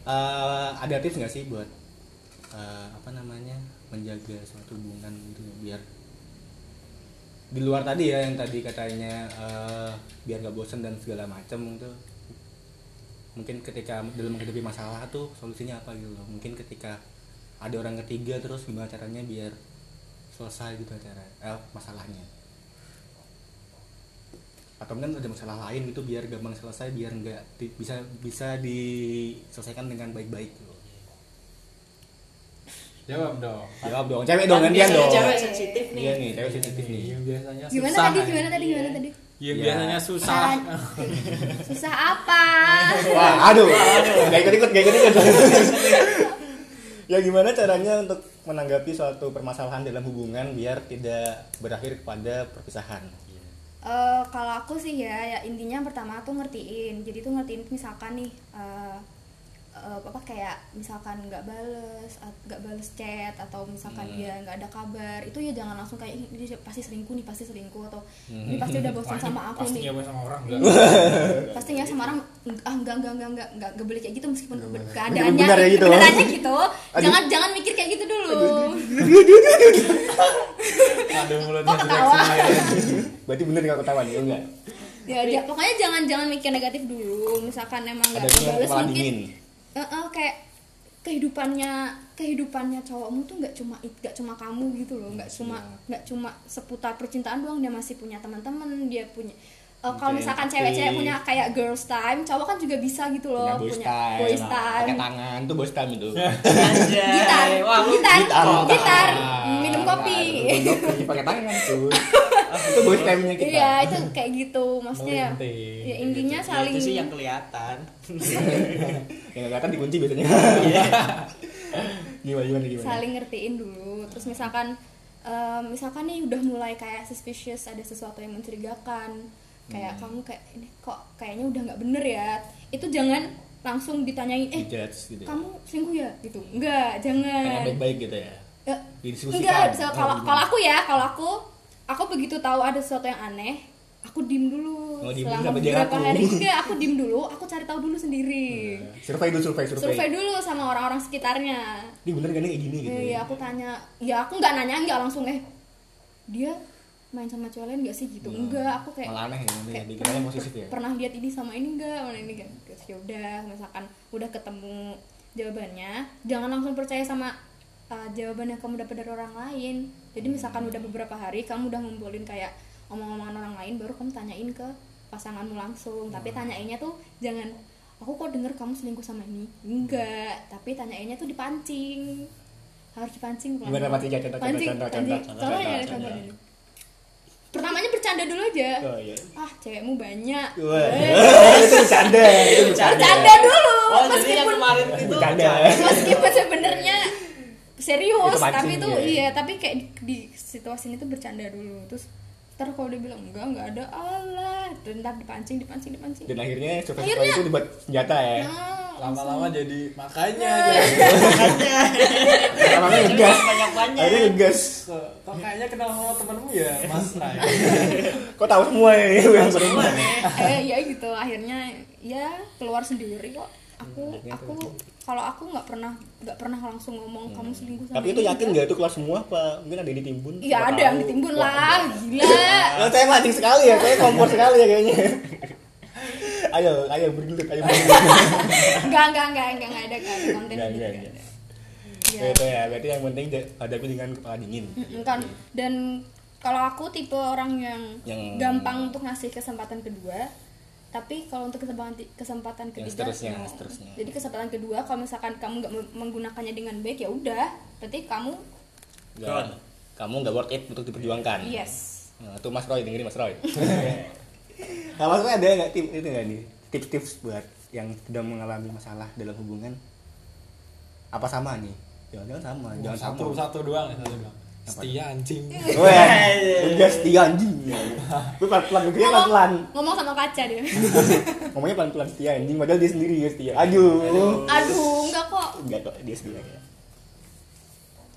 A: Eh, ada tips nggak sih buat eh, apa namanya menjaga suatu hubungan gitu biar di luar tadi ya yang tadi katanya eh, biar nggak bosan dan segala macam itu mungkin ketika dalam menghadapi masalah tuh solusinya apa gitu loh mungkin ketika ada orang ketiga terus gimana caranya biar selesai gitu acara eh, masalahnya atau mungkin ada masalah lain gitu biar gampang selesai biar nggak di- bisa bisa diselesaikan dengan baik-baik gitu.
C: Jawab dong.
A: jawab Iya dong Ya, cewek dong gantian
B: Iya. biasanya
A: dong
B: cewek sensitif nih
A: iya nih cewek sensitif nih
C: Yang biasanya
D: Gimana Iya.
C: susah.
D: tadi? Gimana tadi? Gimana
B: Iya.
D: tadi?
C: Yang
A: Ya.
C: biasanya susah.
D: Susah apa?
A: wah aduh nggak ikut ikut nggak ikut ikut ya gimana caranya untuk menanggapi suatu permasalahan dalam hubungan biar tidak berakhir kepada perpisahan
D: Eh, kalau aku sih ya, ya intinya yang pertama tuh ngertiin. Jadi tuh ngertiin misalkan nih eh, eh, apa kayak misalkan nggak bales, at- nggak bales chat atau misalkan
A: Hmm.
D: dia nggak ada kabar, itu ya jangan langsung kayak "Ih, dia pasti selingkuh nih, pasti selingkuh atau
A: Hmm.
D: ini pasti udah bosan sama aku
E: pasti
D: nih.
E: nyoba sama orang enggak
D: pasti
A: gitu.
D: nggak sama orang ah nggak nggak nggak nggak nggak nggak boleh kayak gitu meskipun keadaannya
A: Bener-bener ya gitu.
D: keadaannya gitu jangan jangan mikir kayak gitu dulu
C: Ada mulutnya
D: kok ketawa
C: ya?
A: berarti bener nggak ketawa nih enggak
D: ya dia- pokoknya jangan jangan mikir negatif dulu misalkan emang nggak
A: ada yang
D: balas
A: kepala
D: Iya, mungkin
A: dingin
D: eh, eh, kayak kehidupannya kehidupannya cowokmu tuh nggak cuma it- nggak cuma kamu gitu loh nggak cuma
A: Iya.
D: nggak cuma seputar percintaan doang dia masih punya teman-teman dia punya eh, kalau
A: Mungkin
D: misalkan
A: tapi-
D: cewek-cewek punya kayak girls time cowok kan juga bisa gitu
A: punya
D: loh
A: boys
D: punya
A: time, Nah,
D: boys
A: pakai
D: time
A: tangan tuh boys time itu
B: Anjay.
D: gitar,
B: Wah, lu
D: gitar, gitar,
A: gitar. Nah,
D: minum kopi.
A: Minum kopi pakai tangan tuh itu boys time-nya kita
D: Iya, itu kayak gitu maksudnya.
C: Melinting.
D: Ya
A: Gitu.
D: intinya
B: Ya,
D: saling
B: itu sih yang kelihatan
A: yang nggak kelihatan dikunci biasanya gimana gimana gimana
D: Iya. saling ngertiin dulu. Terus misalkan em, misalkan nih udah mulai kayak suspicious ada sesuatu yang mencurigakan. Kayak
A: Hmm.
D: kamu kayak ini kok kayaknya udah nggak bener ya. Itu jangan langsung ditanyain, "Eh,
A: dijudge gitu ya.
D: kamu selingkuh ya?" gitu.
A: kayak
D: Enggak, jangan.
A: baik-baik gitu ya
D: Eh,
A: didiskusikan
D: Enggak, bisa
A: Oh,
D: kalau
A: gimana?
D: kalau aku ya, kalau aku aku begitu tahu ada sesuatu yang aneh, aku diem dulu.
A: Oh, diem dulu
D: Selama
A: sampai dia
D: beberapa
A: ngaku.
D: hari enggak, aku diem dulu, aku cari tahu dulu sendiri.
A: survei dulu survei Iya. survei
D: Survei dulu sama orang-orang sekitarnya.
A: ini bener gak nih kayak gini gitu
D: Iya, aku tanya, ya aku nggak nanya, nggak langsung eh dia main sama cowok lain nggak sih gitu.
A: Nah,
D: Enggak, aku kayak
A: Iya. malah aneh ya nanti ya
D: kayak
A: dikiranya positif ya
D: pernah lihat ini sama ini enggak mana ini kan terus ya udah misalkan udah ketemu jawabannya jangan langsung percaya sama uh, jawaban yang kamu dapat dari orang lain jadi
A: Hmm.
D: misalkan udah beberapa hari kamu udah ngumpulin kayak omong-omongan orang lain baru kamu tanyain ke pasanganmu langsung tapi
A: Hmm.
D: tanyainnya tuh jangan aku kok denger kamu selingkuh sama ini enggak tapi tanyainnya tuh dipancing harus dipancing
A: Gimana
D: pelan-pelan.
A: pancingnya? Contoh, contoh,
D: pancing
A: contoh,
D: pancing
A: contoh,
D: Contohnya
A: contoh,
D: ada
A: contoh.
D: contoh dulu. pertamanya bercanda dulu aja
A: oh iya
D: ah cewekmu banyak
A: Wah.
D: Eh,
A: Oh, itu bercanda itu
D: bercanda dulu
B: oh jadi yang
D: meskipun
B: kemarin itu
A: bercanda
D: meskipun sebenarnya serius
A: Itu mancing,
D: tapi itu
A: ya.
D: iya tapi kayak di, di situasi ini tuh bercanda dulu terus ntar kalau dia bilang enggak enggak ada Allah terus ntar dipancing dipancing dipancing Nah,
A: dan akhirnya survei survei
D: Akhirnya-
A: itu dibuat senjata ya
D: Ah,
C: Lama-lama ya. jadi makanya
D: Iya.
A: namanya ngegas
B: banyak banyak
A: akhirnya ngegas
C: jadi- Kok kayaknya kenal sama temenmu ya, Mas Rai.
A: kok tahu semua ya yang semua
D: eh ya gitu akhirnya ya keluar sendiri kok aku aku kalau aku nggak pernah nggak pernah langsung ngomong kamu selingkuh sama
A: tapi itu
D: ini,
A: yakin
D: enggak.
A: nggak itu kelas semua apa mungkin ada yang ditimbun
D: iya
A: Siapa
D: ada yang
A: tahu.
D: ditimbun
A: Wah, ada.
D: lah gila
A: Nah, saya mancing sekali ya, saya kompor sekali ya kayaknya. ayo, ayo bergelut, ayo bergelut.
D: Enggak, enggak, enggak, enggak, enggak ada kan konten
A: Enggak,
D: gitu,
A: enggak,
D: enggak
A: enggak.
D: ada. Iya.
A: Itu ya, berarti yang penting ja- hadapi dengan kepala dingin.
D: Mm-mm, kan dan kalau aku tipe orang yang,
A: Yang-
D: gampang untuk ngasih kesempatan kedua, tapi kalau untuk kesempatan kesempatan
A: Yang
D: ketiga
A: seterusnya,
D: no.
A: seterusnya.
D: Jadi kesempatan kedua kalau misalkan kamu nggak mem- menggunakannya dengan baik ya udah, berarti kamu
A: Enggak, kamu nggak worth it untuk diperjuangkan.
D: yes.
A: Nah, itu Mas Roy dengerin Mas Roy. nah, Mas Roy ada nggak tips itu nggak nih? Tips-tips buat yang sedang mengalami masalah dalam hubungan apa sama nih? Jangan-jangan sama, jangan
C: Satu
A: sama.
C: satu doang ya, satu doang. setia anjing
D: Iya.
A: Weh, udah setia anjing. Gue pelan-pelan, gue Iya, pelan-pelan.
D: ngomong sama kaca dia
A: Ngomongnya pelan-pelan setia anjing, padahal dia sendiri ya setia. Aduh.
D: aduh enggak kok
A: Enggak kok, dia sendiri ya.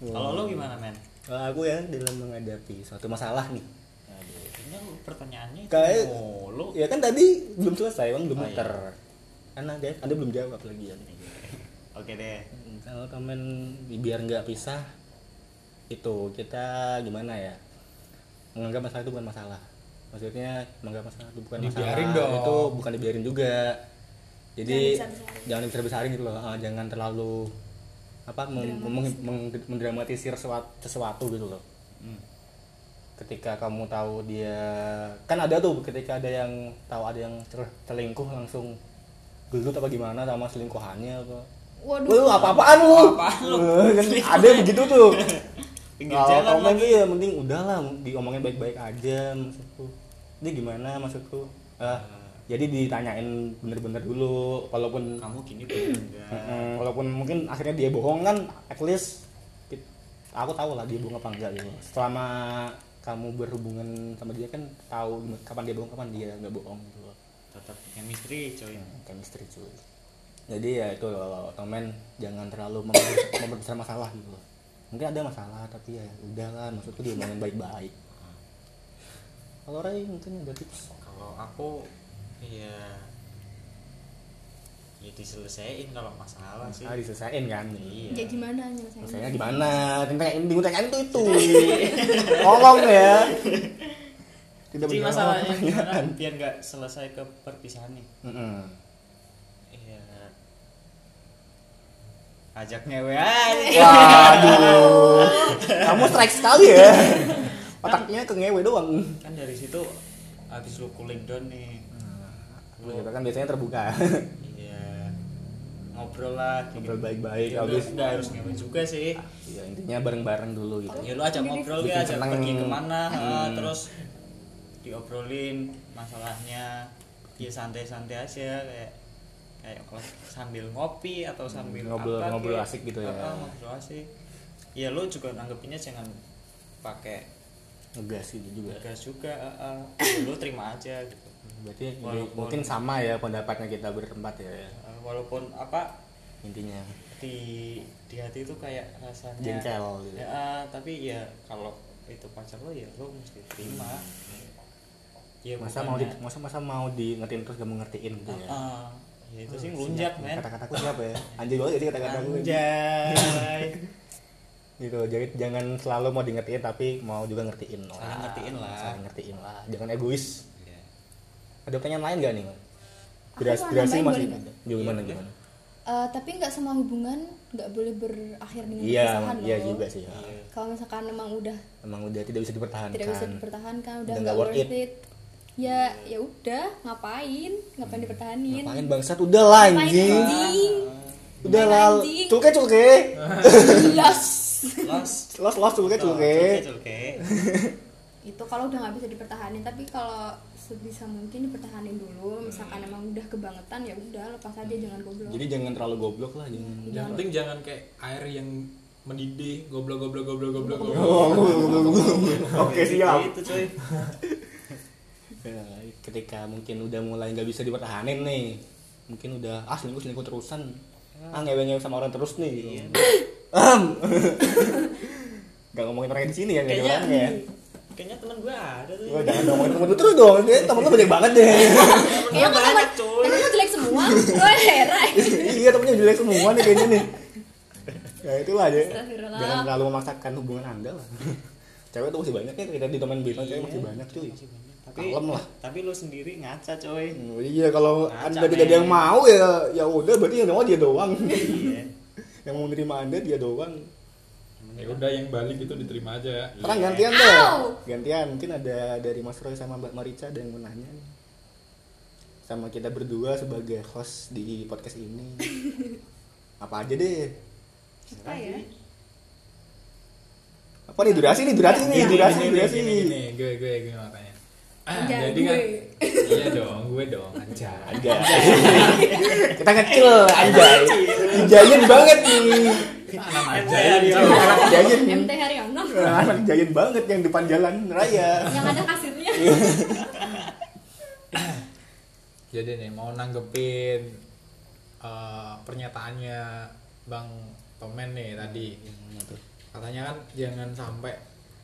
B: Kalau lo gimana men?
A: Kalau aku ya dalam menghadapi suatu masalah nih.
B: Aduh, ini lo pertanyaannya itu
A: Kayak-
B: mulu.
A: Ya kan tadi belum selesai, bang belum
B: Oh, iya.
A: muter. Kan ada, ada belum jawab lagi ya.
B: Oke deh.
A: Kalau temen biar nggak pisah itu kita gimana ya menganggap masalah itu bukan masalah. Maksudnya menganggap masalah itu bukan
C: Dibiarin
A: masalah
C: dong.
A: itu bukan dibiarin juga. Jadi
D: Jangan dibesar-besarin.
A: jangan besar-besarin gitu loh. Ah, jangan terlalu apa meng- meng- meng- mendramatisir sesuatu, sesuatu gitu loh.
B: Hmm.
A: Ketika kamu tahu dia kan ada tuh ketika ada yang tahu ada yang ter- terlingkuh langsung gelut apa gimana sama selingkuhannya apa
D: waduh
A: lu apa-apaan lu?
B: Apaan lu?
A: Eh, kan ada yang begitu tuh.
B: Pinggir
A: Kalau
B: jalan
A: komen
B: lagi.
A: tuh ya mending udahlah diomongin baik-baik aja maksudku. Ini gimana maksudku? Eh, jadi ditanyain bener-bener dulu walaupun
B: Kamu gini bener enggak?
A: eh, walaupun mungkin akhirnya dia bohong kan at least ki- aku tahu lah dia bohong apa enggak gitu. Selama kamu berhubungan sama dia kan tahu gimana- kapan dia bohong kapan dia nggak bohong gitu loh
B: Tetap chemistry coy.
A: chemistry cuy jadi ya itu loh temen jangan terlalu memper- memperbesar masalah gitu loh mungkin ada masalah tapi ya udahlah maksudku diomongin baik-baik kalau Ray mungkin ada tips
B: Kalau aku ya ya diselesaiin kalau masalah sih.
A: ah diselesain kan
B: Iya.
D: ya gimana nyelesainnya
A: Maksudnya gimana? Tentang bingung tanyain tuh itu. Ngomong ya. Tidak
B: Jadi
A: menjawab
B: masalahnya gimana
A: pertanyaan.
B: biar nggak selesai ke perpisahan nih?
A: Mm-mm.
B: Iya. Ajak ngewe aja.
A: Iya. Waduh. Kamu strike sekali ya. Otaknya ke ngewe doang.
B: Kan dari situ habis lu cooling down nih. Lu
A: Kita kan biasanya terbuka.
B: iya ngobrol lah dikit.
A: Ngobrol baik-baik,
B: Ya udah,
A: habis-
B: udah harus ngewe juga sih.
A: ya intinya bareng-bareng dulu gitu
B: Ya lu ajak ngobrol
A: Bikin
B: ya, ajak
A: seneng.
B: pergi kemana, ah,
A: Hmm.
B: terus diobrolin masalahnya. Ya santai-santai aja kayak kayak kalau sambil ngopi atau sambil
A: Hmm, ngobrol-
B: apa
A: ngobrol
B: kayak-
A: asik gitu ya.
B: Ah, ngobrol asik. Ya lu juga nanggepinnya jangan pakai
A: ngegas gitu juga
B: gas juga ah, ah. lu terima aja gitu
A: berarti
B: Walaupun-
A: mungkin sama ya pendapatnya kita berempat ya
B: Uh, walaupun apa
A: intinya
B: Iya. di di hati itu kayak rasanya
A: jengkel gitu
B: ya, ah, tapi ya kalau itu pacar lo ya lo mesti terima ya
A: Hmm. masa mau di
B: bukannya-
A: masa masa mau di ngertiin terus gak mau ngertiin gitu ya
B: Ah, ya itu
A: Oh,
B: sih ngelunjak men
A: kata-kataku siapa ya anjing banget jadi kata-kataku
B: anjay
A: gitu jadi jangan selalu mau di ngertiin tapi mau juga ngertiin lah
B: Saling ngertiin lah.
A: Saling ngertiin lah jangan egois
B: Ya.
A: ada pertanyaan lain gak nih
D: Aku
A: Gras,
D: mau
A: Grasi masih
D: nambahin boleh
A: ada. Gimana
B: Iya,
A: gimana?
D: Eh, tapi nggak semua hubungan nggak boleh berakhir dengan
A: Iya,
D: perpisahan
A: iya
D: loh.
A: juga sih. ya.
B: Iya.
D: kalau misalkan emang udah
A: Emang udah tidak bisa dipertahankan.
D: tidak bisa dipertahankan udah
A: Udah
D: nggak
A: nggak worth
D: worth it. ya ya udah ngapain ngapain dipertahanin
A: Hmm, Ngapain bangsat udah lah
D: Ngapain,
A: anjing.
D: anjing
A: Udah lah,
D: Ngapain, anjing?
A: culke culke.
D: jelas
B: Los.
A: Los los culke
B: Oh,
A: culke.
B: culke.
D: itu kalau udah nggak bisa dipertahanin tapi kalau sebisa mungkin dipertahanin
A: Hmm.
D: dulu misalkan emang udah kebangetan ya udah lepas aja jangan goblok
A: Jadi jangan terlalu goblok lah, jangan.
C: yang penting jangan kayak air yang mendidih goblok goblok goblok goblok goblok
A: Oh, Oke siap.
B: itu Gitu, cuy
A: Ya, Ketika mungkin udah mulai nggak bisa dipertahanin nih, mungkin udah ah selingkuh selingkuh terusan, ah ngewe ngewe sama orang terus nih. Am. Gak ngomongin orang di sini ya, gak ada
B: Kayaknya- hmm,
A: orangnya ya.
B: kayaknya teman gue ada tuh
A: Wah, jangan ngomongin temen lu terus dong, ini temen lu banyak banget deh.
D: ya
B: temen gue banyak
D: kok temen
B: cuy
D: temen lu jelek semua gue heran
A: iya temennya jelek semua nih kayaknya nih ya itulah aja
D: Astagfirullah.
A: jangan terlalu memaksakan hubungan anda lah cewek tuh masih banyak ya kita di teman bilang Iya, cewek masih banyak cuy
B: Iya tapi
A: kalem lah
B: tapi lu sendiri ngaca coy
A: Oh, iya kalau
B: Ngaca,
A: anda tidak ada yang
B: men.
A: mau ya ya udah berarti yang mau dia doang
B: iya
A: yang mau menerima anda dia doang
C: ya udah yang balik itu diterima aja
A: sekarang gantian deh
D: Au!
A: gantian mungkin ada dari Mas Roy sama Mbak Marica ada yang mau nanya nih. sama kita berdua sebagai host di podcast ini apa aja deh
D: apa ya
A: apa nih durasi nih durasi
C: Iya,
A: nih durasi
C: gini,
A: durasi
C: gini,
A: nih
C: gini, gue gue gue mau tanya ah,
D: Enggak,
C: jadi kan
D: gue.
C: iya dong gue dong anjay
A: aja kita kecil aja jajan banget nih
C: anak
B: Anjay,
C: anjay
A: jajan
D: MT Haryono
A: anak jahit banget yang depan jalan raya
D: yang ada kasirnya
A: Iya.
C: jadi nih mau nanggepin eh, pernyataannya bang Tomen nih tadi katanya kan jangan sampai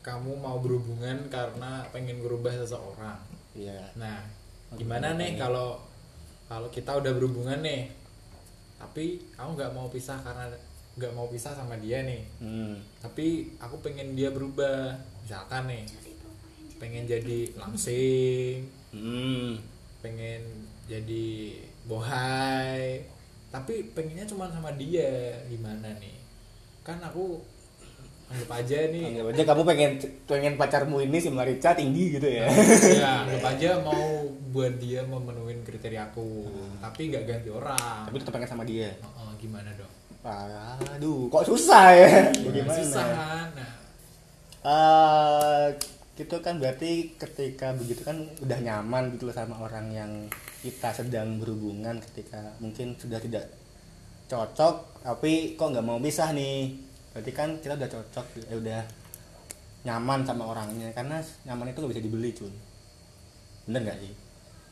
C: kamu mau berhubungan karena pengen berubah seseorang
A: iya
C: nah gimana nih kalau kalau kita udah berhubungan nih tapi aku nggak mau pisah karena nggak mau pisah sama dia nih
A: hmm.
C: tapi aku pengen dia berubah misalkan nih pengen jadi langsing
A: Hmm.
C: pengen jadi bohai tapi pengennya cuma sama dia gimana nih kan aku anggap aja nih
A: Anggap aja kamu pengen pengen pacarmu ini si Marica tinggi gitu ya.
C: ya anggap aja mau buat dia memenuhi kriteria aku tapi nggak ganti orang
A: Ah. Tapi tetap pengen sama dia.
C: Oh, oh, gimana dong
A: Aduh, kok susah ya? Bagaimana?
C: susah kan? nah
A: Eh, gitu kan berarti ketika begitu kan udah nyaman gitu loh sama orang yang kita sedang berhubungan ketika mungkin sudah tidak cocok tapi kok nggak mau pisah nih berarti kan kita udah cocok eh, udah nyaman sama orangnya karena nyaman itu nggak bisa dibeli cuy bener nggak sih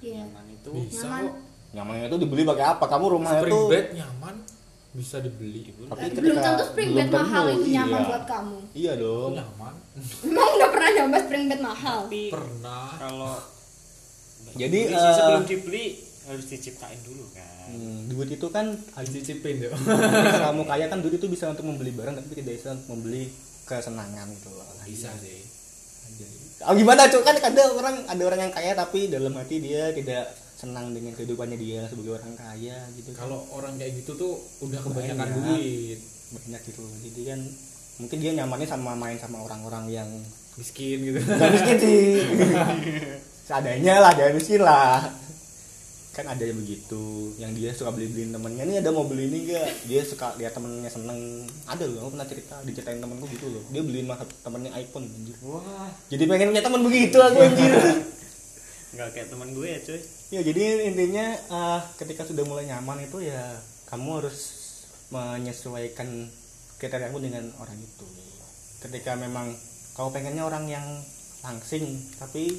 D: iya
B: nyaman itu
C: bisa
D: Nyaman.
C: kok
A: nyamannya itu dibeli pakai apa kamu rumahnya
C: spring
A: tuh
C: bed nyaman bisa dibeli
A: tapi
D: tapi belum tentu spring bed
A: belum
D: mahal
A: tentu,
D: itu nyaman
A: iya.
D: buat kamu
A: iya dong
C: nyaman
D: emang udah pernah nyoba spring bed mahal
B: tapi
C: pernah
A: Ah.
B: kalau
A: jadi
B: beli
A: eh,
B: sebelum dibeli harus diciptain dulu kan
A: hmm, duit itu kan
C: harus dicipin tuh
A: Ketika kamu kaya kan duit itu bisa untuk membeli barang tapi tidak bisa untuk membeli kesenangan gitu loh.
C: Nah, bisa sih Jadi,
A: Oh, gimana cuy kan kadang orang ada orang yang kaya tapi dalam hati dia tidak senang dengan kehidupannya dia sebagai orang kaya gitu kan.
C: kalau orang kayak gitu tuh udah kebanyakan
A: Banyak.
C: duit
A: banyak gitu loh. jadi kan mungkin dia nyamannya sama main sama orang-orang yang
C: miskin gitu
A: gak miskin sih seadanya lah jangan miskin lah kan ada yang begitu yang dia suka beli beliin temennya nih ada mau beli ini enggak dia suka lihat temennya seneng ada loh aku pernah cerita diceritain temenku gitu loh dia beliin mah temennya iPhone anjir
C: wah
A: jadi pengen punya temen begitu aku anjir
B: nggak kayak teman gue ya cuy
A: ya jadi intinya ah, ketika sudah mulai nyaman itu ya kamu harus menyesuaikan kriteriamu dengan orang itu ketika memang kau pengennya orang yang langsing tapi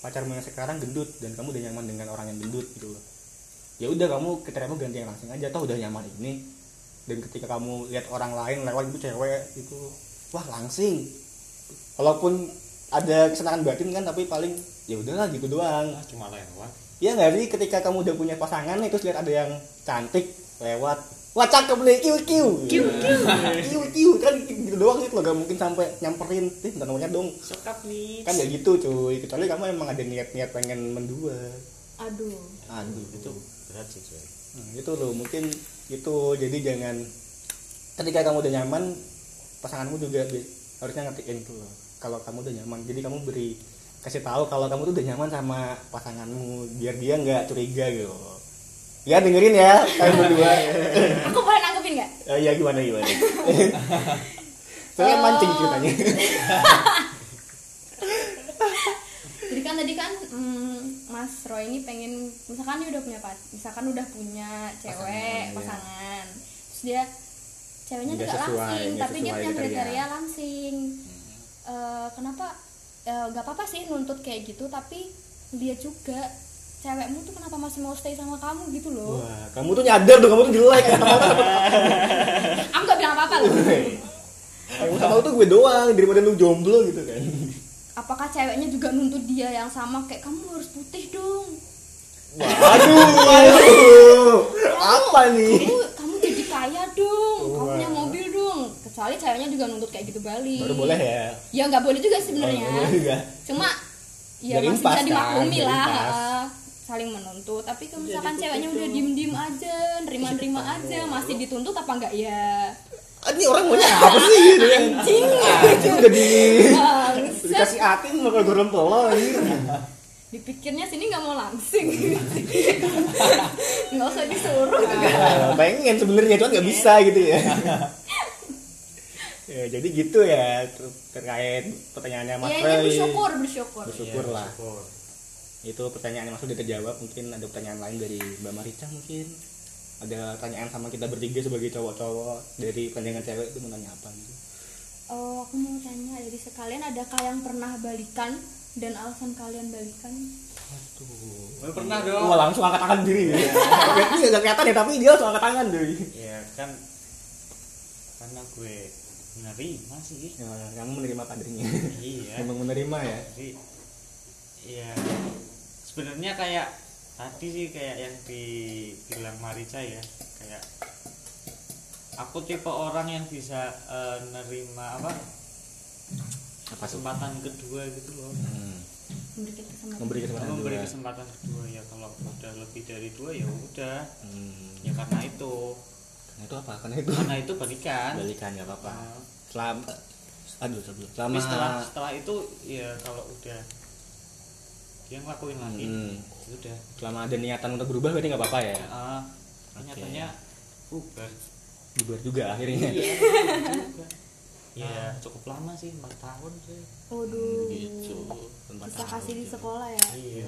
A: pacarmu yang sekarang gendut dan kamu udah nyaman dengan orang yang gendut gitu loh ya udah kamu kriteriamu ganti yang langsing aja toh udah nyaman ini dan ketika kamu lihat orang lain lewat itu cewek itu wah langsing walaupun ada kesenangan batin kan tapi paling ya udahlah gitu doang
B: Ah, cuma lewat
A: Iya nggak sih ketika kamu udah punya pasangan nih terus lihat ada yang cantik lewat wah cakep nih kiu kiu kiu kiu kiu kiu kan gitu doang gitu loh gak mungkin sampai nyamperin sih bentar nomornya dong
B: sekap nih
A: kan gak gitu cuy kecuali kamu emang ada niat-niat pengen mendua
D: aduh
A: aduh
B: itu berat sih cuy
A: Ah, Nah, itu loh mungkin itu jadi jangan ketika kamu udah nyaman pasanganmu juga bi- harusnya ngertiin tuh loh kalau kamu udah nyaman jadi kamu beri kasih tahu kalau kamu tuh udah nyaman sama pasanganmu biar dia nggak curiga gitu loh. ya dengerin ya kalian berdua
D: aku boleh nanggepin nggak
A: Eh, ya gimana gimana soalnya mancing ceritanya
D: jadi kan tadi kan mm, Mas Roy ini pengen misalkan dia udah punya pac- misalkan udah punya cewek
A: Pasangan, ya.
D: pasangan, terus dia ceweknya
A: Nggak
D: tidak
A: sesuai,
D: langsing
A: nggak
D: tapi dia
A: sesuai
D: punya
A: kriteria. Hmm.
D: kriteria langsing Eh, kenapa eh, nggak apa-apa sih nuntut kayak gitu tapi dia juga cewekmu tuh kenapa masih mau stay sama kamu gitu loh
A: wah kamu tuh nyadar dong kamu tuh jelek kata kamu
D: Eh, aku nggak bilang apa-apa loh
A: kamu tahu tuh gue doang daripada lu jomblo gitu kan
D: apakah ceweknya juga nuntut dia yang sama kayak kamu harus putih dong
A: waduh apa nih
D: kamu, kamu jadi kaya dong kamu punya
A: Wah.
D: mobil dong kecuali ceweknya juga nuntut kayak gitu balik
A: baru boleh ya
D: ya nggak boleh juga sih sebenarnya
A: Oh, boleh juga.
D: cuma ya
A: Dari
D: masih
A: impas
D: bisa
A: kan,
D: dimaklumi
A: dari
D: lah
A: impas.
D: heeh. saling menuntut tapi kalau misalkan ceweknya udah diem diem aja nerima nerima aja masih dituntut apa enggak ya
A: Ah, ini orang maunya apa sih gitu ya
D: anjing
A: Anjing, udah di
D: Bangsa.
A: dikasih atin mau ke goreng tolo ini
D: dipikirnya sini nggak mau langsing nggak usah disuruh
A: Ya, pengen sebenarnya cuman nggak bisa gitu ya ya jadi gitu ya ter- terkait pertanyaannya Mas
D: ya ini
A: Roy
D: bersyukur bersyukur
A: bersyukur lah
B: Syukur.
A: itu pertanyaannya Mas Roy udah terjawab mungkin ada pertanyaan lain dari Mbak Marica mungkin ada pertanyaan sama kita bertiga sebagai cowok-cowok dari pandangan cewek itu mau nanya apa gitu
D: eh, aku mau tanya jadi sekalian adakah yang pernah balikan dan alasan kalian balikan
B: Lu pernah dong
A: Iya, Wah langsung angkat tangan diri ya.
B: Iya.
A: Ini nggak kelihatan ya tapi dia langsung angkat tangan doi.
B: ya kan karena gue menerima sih
A: Ya, kamu menerima kadernya.
B: iya
A: Emang menerima ya.
B: jadi ya sebenarnya kayak tadi sih kayak yang dibilang Marica ya kayak aku tipe orang yang bisa eh, nerima apa
A: Apa tuh?
B: kesempatan kedua gitu loh
A: Hmm.
D: memberikan kesempatan
A: Memberi kesempatan
B: memberi
A: kedua.
B: kesempatan kedua ya kalau udah lebih dari dua ya udah
A: Hmm.
B: ya karena itu
A: Karena itu apa? Karena itu
B: karena itu balikan
A: balikan nggak apa-apa.
B: Nah,
A: Selama aduh sebelum
B: tapi
A: selama
B: setelah setelah itu ya kalau udah dia ngelakuin lagi
A: Hmm.
B: ya udah
A: selama ada niatan untuk berubah berarti nggak apa-apa ya.
B: Ah,
A: Oke.
B: nyatanya bubar
A: Bubar juga akhirnya.
B: iya ya cukup lama sih empat tahun sih
D: waduh
A: Gitu. Tempat
D: bisa
A: tahu
D: kasih di
A: gitu.
D: sekolah ya
B: Iya,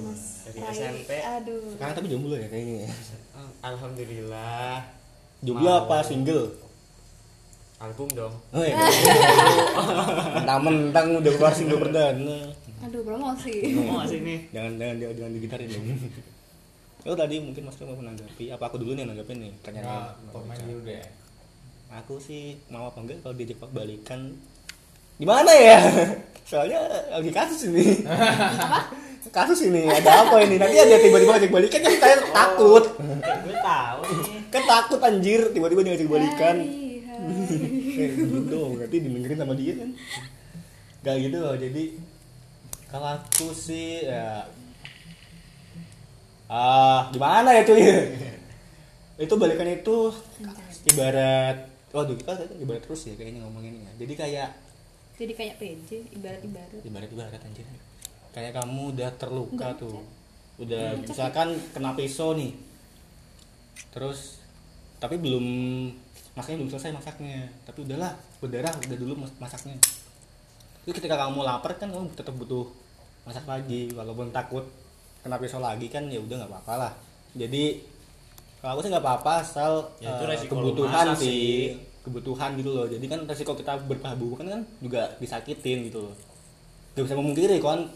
B: dari
D: Rai.
B: SMP.
D: aduh
A: Sekarang tapi jomblo ya kayaknya.
B: alhamdulillah
A: Jomblo
B: Mau.
A: apa single?
B: album dong
A: Oh iya. Mentang-mentang udah keluar single perdana.
D: aduh promosi
B: mau nggak sih nih
A: jangan jangan jangan, jangan digitarin dong lo tadi mungkin mas Rio mau menanggapi apa aku dulu nih yang nanggapin nih
C: Nah,
A: tanya
C: pemain dulu deh.
A: aku sih mau apa enggak kalau diajak balikan gimana ya soalnya lagi kasus ini kasus ini ada apa ini nanti ada tiba-tiba ajak balikan kan saya takut
B: Kayak gue tahu nih
A: kan takut anjir tiba-tiba diajak balikan
D: Hai, hai.
A: eh gitu dong nanti didengerin sama dia kan gak gitu loh jadi kalau aku sih ya ah gimana ya cuy itu balikan itu ibarat waduh kita kan ibarat terus ya kayaknya ngomonginnya jadi kayak
D: jadi kayak PJ ibarat-ibarat
A: ibarat ibarat anjir kayak kamu udah terluka
D: Gitu. Enggak,
A: tuh udah misalkan kena pisau nih terus tapi belum masaknya belum selesai masaknya tapi udahlah berdarah udah dulu mas- masaknya itu ketika kamu lapar kan kamu tetap butuh masak lagi walaupun takut kena pisau lagi kan ya udah nggak apa-apa lah jadi kalau aku sih nggak apa-apa asal
B: Ya, itu
A: eh,
B: resiko lu
A: kebutuhan
B: masak sih.
A: sih kebutuhan gitu loh jadi kan resiko kita berpahabukan kan juga disakitin gitu loh gak bisa memungkiri kan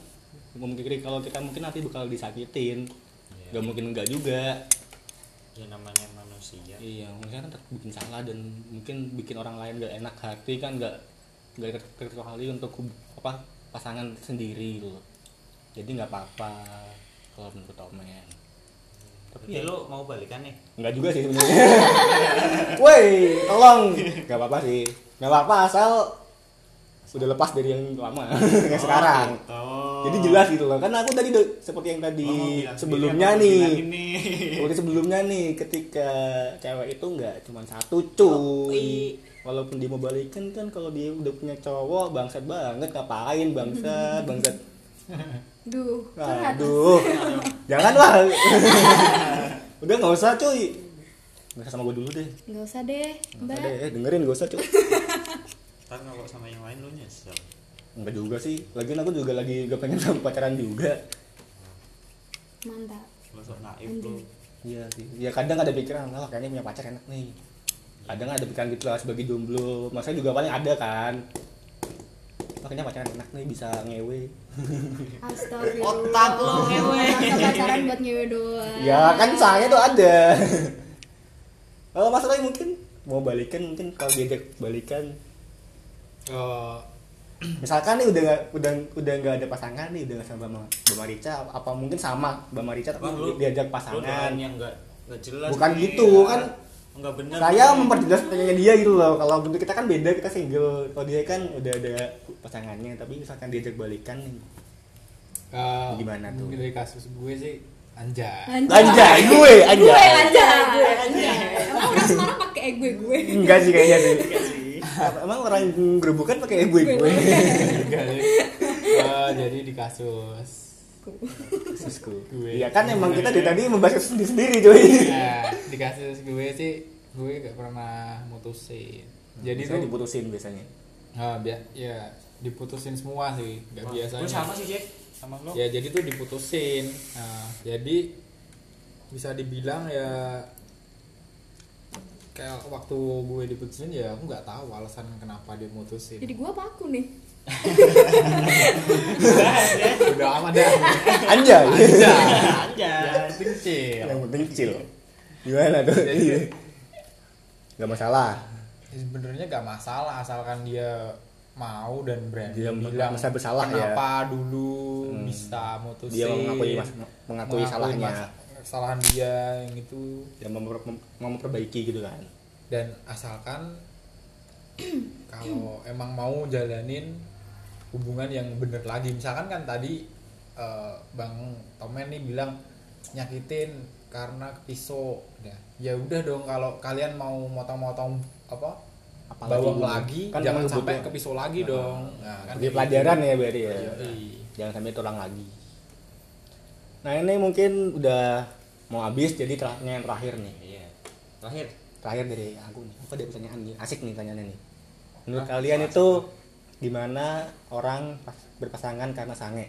A: memungkiri kalau kita mungkin nanti bakal disakitin
B: Iya.
A: gak mungkin enggak juga
B: ya namanya manusia
A: iya mungkin kan tetap bikin salah dan mungkin bikin orang lain gak enak hati kan gak gak terkecuali untuk hub- apa pasangan sendiri gitu loh jadi nggak apa-apa kalau menurut Omen
B: tapi ya lo mau balikan nih
A: Enggak juga sih sebenarnya. Woi, tolong. Enggak apa-apa sih. Enggak apa-apa asal udah lepas dari yang lama yang sekarang.
B: oh,
A: Jadi jelas gitu loh. Karena aku tadi udah- seperti yang tadi sebelumnya nih.
B: ini
A: Seperti sebelumnya nih ketika cewek itu enggak cuma satu cuy. Walaupun dia mau balikan kan kalau dia udah punya cowok bangsat banget ngapain bangsat bangsat.
D: duh curhat
A: Aduh. Janganlah. udah nggak usah cuy. Nggak usah sama gue dulu deh.
D: nggak usah deh mbak
A: Ada eh dengerin gak usah cuy
B: kan kalau sama yang lain lo nyesel
A: Enggak juga sih Lagian aku juga lagi gak pengen sama pacaran juga
D: mantap
B: lo sok naif lo
A: Iya sih Ya kadang ada pikiran lah kayaknya punya pacar enak nih Kadang ada pikiran gitu lah sebagai jomblo Masa juga paling ada kan Makanya pacaran enak nih bisa ngewe
D: Astagfirullah.
B: Otak lo, ngewe.
D: Masa pacaran buat ngewe doang.
A: Ya kan sayangnya tuh ada Kalau Mas Roy mungkin mau balikan mungkin kalau diajak balikan
C: Eh,
A: misalkan nih udah nggak udah udah nggak ada pasangan nih udah nggak sama Mbak Mbak Marica apa mungkin sama Mbak Marica tapi
B: Bang, lu-
A: diajak
B: Lu
A: pasangan
B: doang yang nggak nggak jelas
A: Bukan
B: nih,
A: gitu,
B: ya.
A: kan.
B: nggak bener
A: saya
B: nih.
A: memperjelas pertanyaan dia gitu loh kalau untuk kita kan beda kita single kalau dia kan udah ada pasangannya tapi misalkan diajak balikan nih
C: eh,
A: Gimana tuh?
C: mungkin Dari kasus gue sih anjay.
D: Anjay.
A: anjay gue
D: Gue
A: anjay
D: anjay. Gue anjay. Emang orang Semarang pakai eh gue gue.
A: enggak sih kayaknya sih emang orang gerobokan pakai gue gue
C: Juga sih. Eh, jadi di kasus
A: Kasusku.
C: Gue.
A: Iya kan emang kita dari tadi membahas kasus sendiri sendiri cuy
C: Nah, di kasus gue sih gue gak pernah mutusin. Jadi
A: saya
C: tuh
A: diputusin biasanya
C: ah, bia- ya diputusin semua sih, gak
B: Wah,
C: biasanya.
B: gue sama sih Jack sama lo
C: Ya jadi tuh diputusin. Nah, jadi bisa dibilang ya kayak waktu gue diputusin ya aku nggak tahu alasan kenapa dia mutusin
D: jadi gua apa aku nih
C: udah aman Ya, dah
A: Anjay.
B: Anjay.
C: penting chill
A: Yang penting kecil. Gimana tuh? Gak masalah.
C: Ya, sebenarnya gak masalah asalkan dia mau dan berani
A: Dia
C: bilang
A: merasa bersalah ya.
C: kenapa dulu
A: Hmm.
C: bisa mutusin
A: Dia mengakui mas- mengakui salahnya.
C: mas- kesalahan dia yang itu
A: Dia memper- mem- mau memperbaiki gitu kan.
C: dan asalkan kalau emang mau jalanin hubungan yang bener lagi misalkan kan tadi eh, bang Tomen nih bilang nyakitin karena pisau ya ya udah dong kalau kalian mau motong-motong apa
A: Apalagi
C: bawang
A: gitu.
C: lagi
A: Kan
C: jangan
A: emang
C: sampai
A: butuh-
C: ke pisau lagi
A: Nah.
C: dong nah, kan
A: Jadi
C: kayak
A: pelajaran ya berarti ya.
C: gitu. Yoi.
A: Jangan sampai tulang lagi. Nah ini mungkin udah mau habis jadi terakhirnya yang terakhir nih.
B: Iya. Terakhir,
A: Terakhir dari aku nih. Aku ada pertanyaan nih. Asik nih pertanyaannya nih. Menurut kalian itu gimana orang pas- berpasangan karena sange?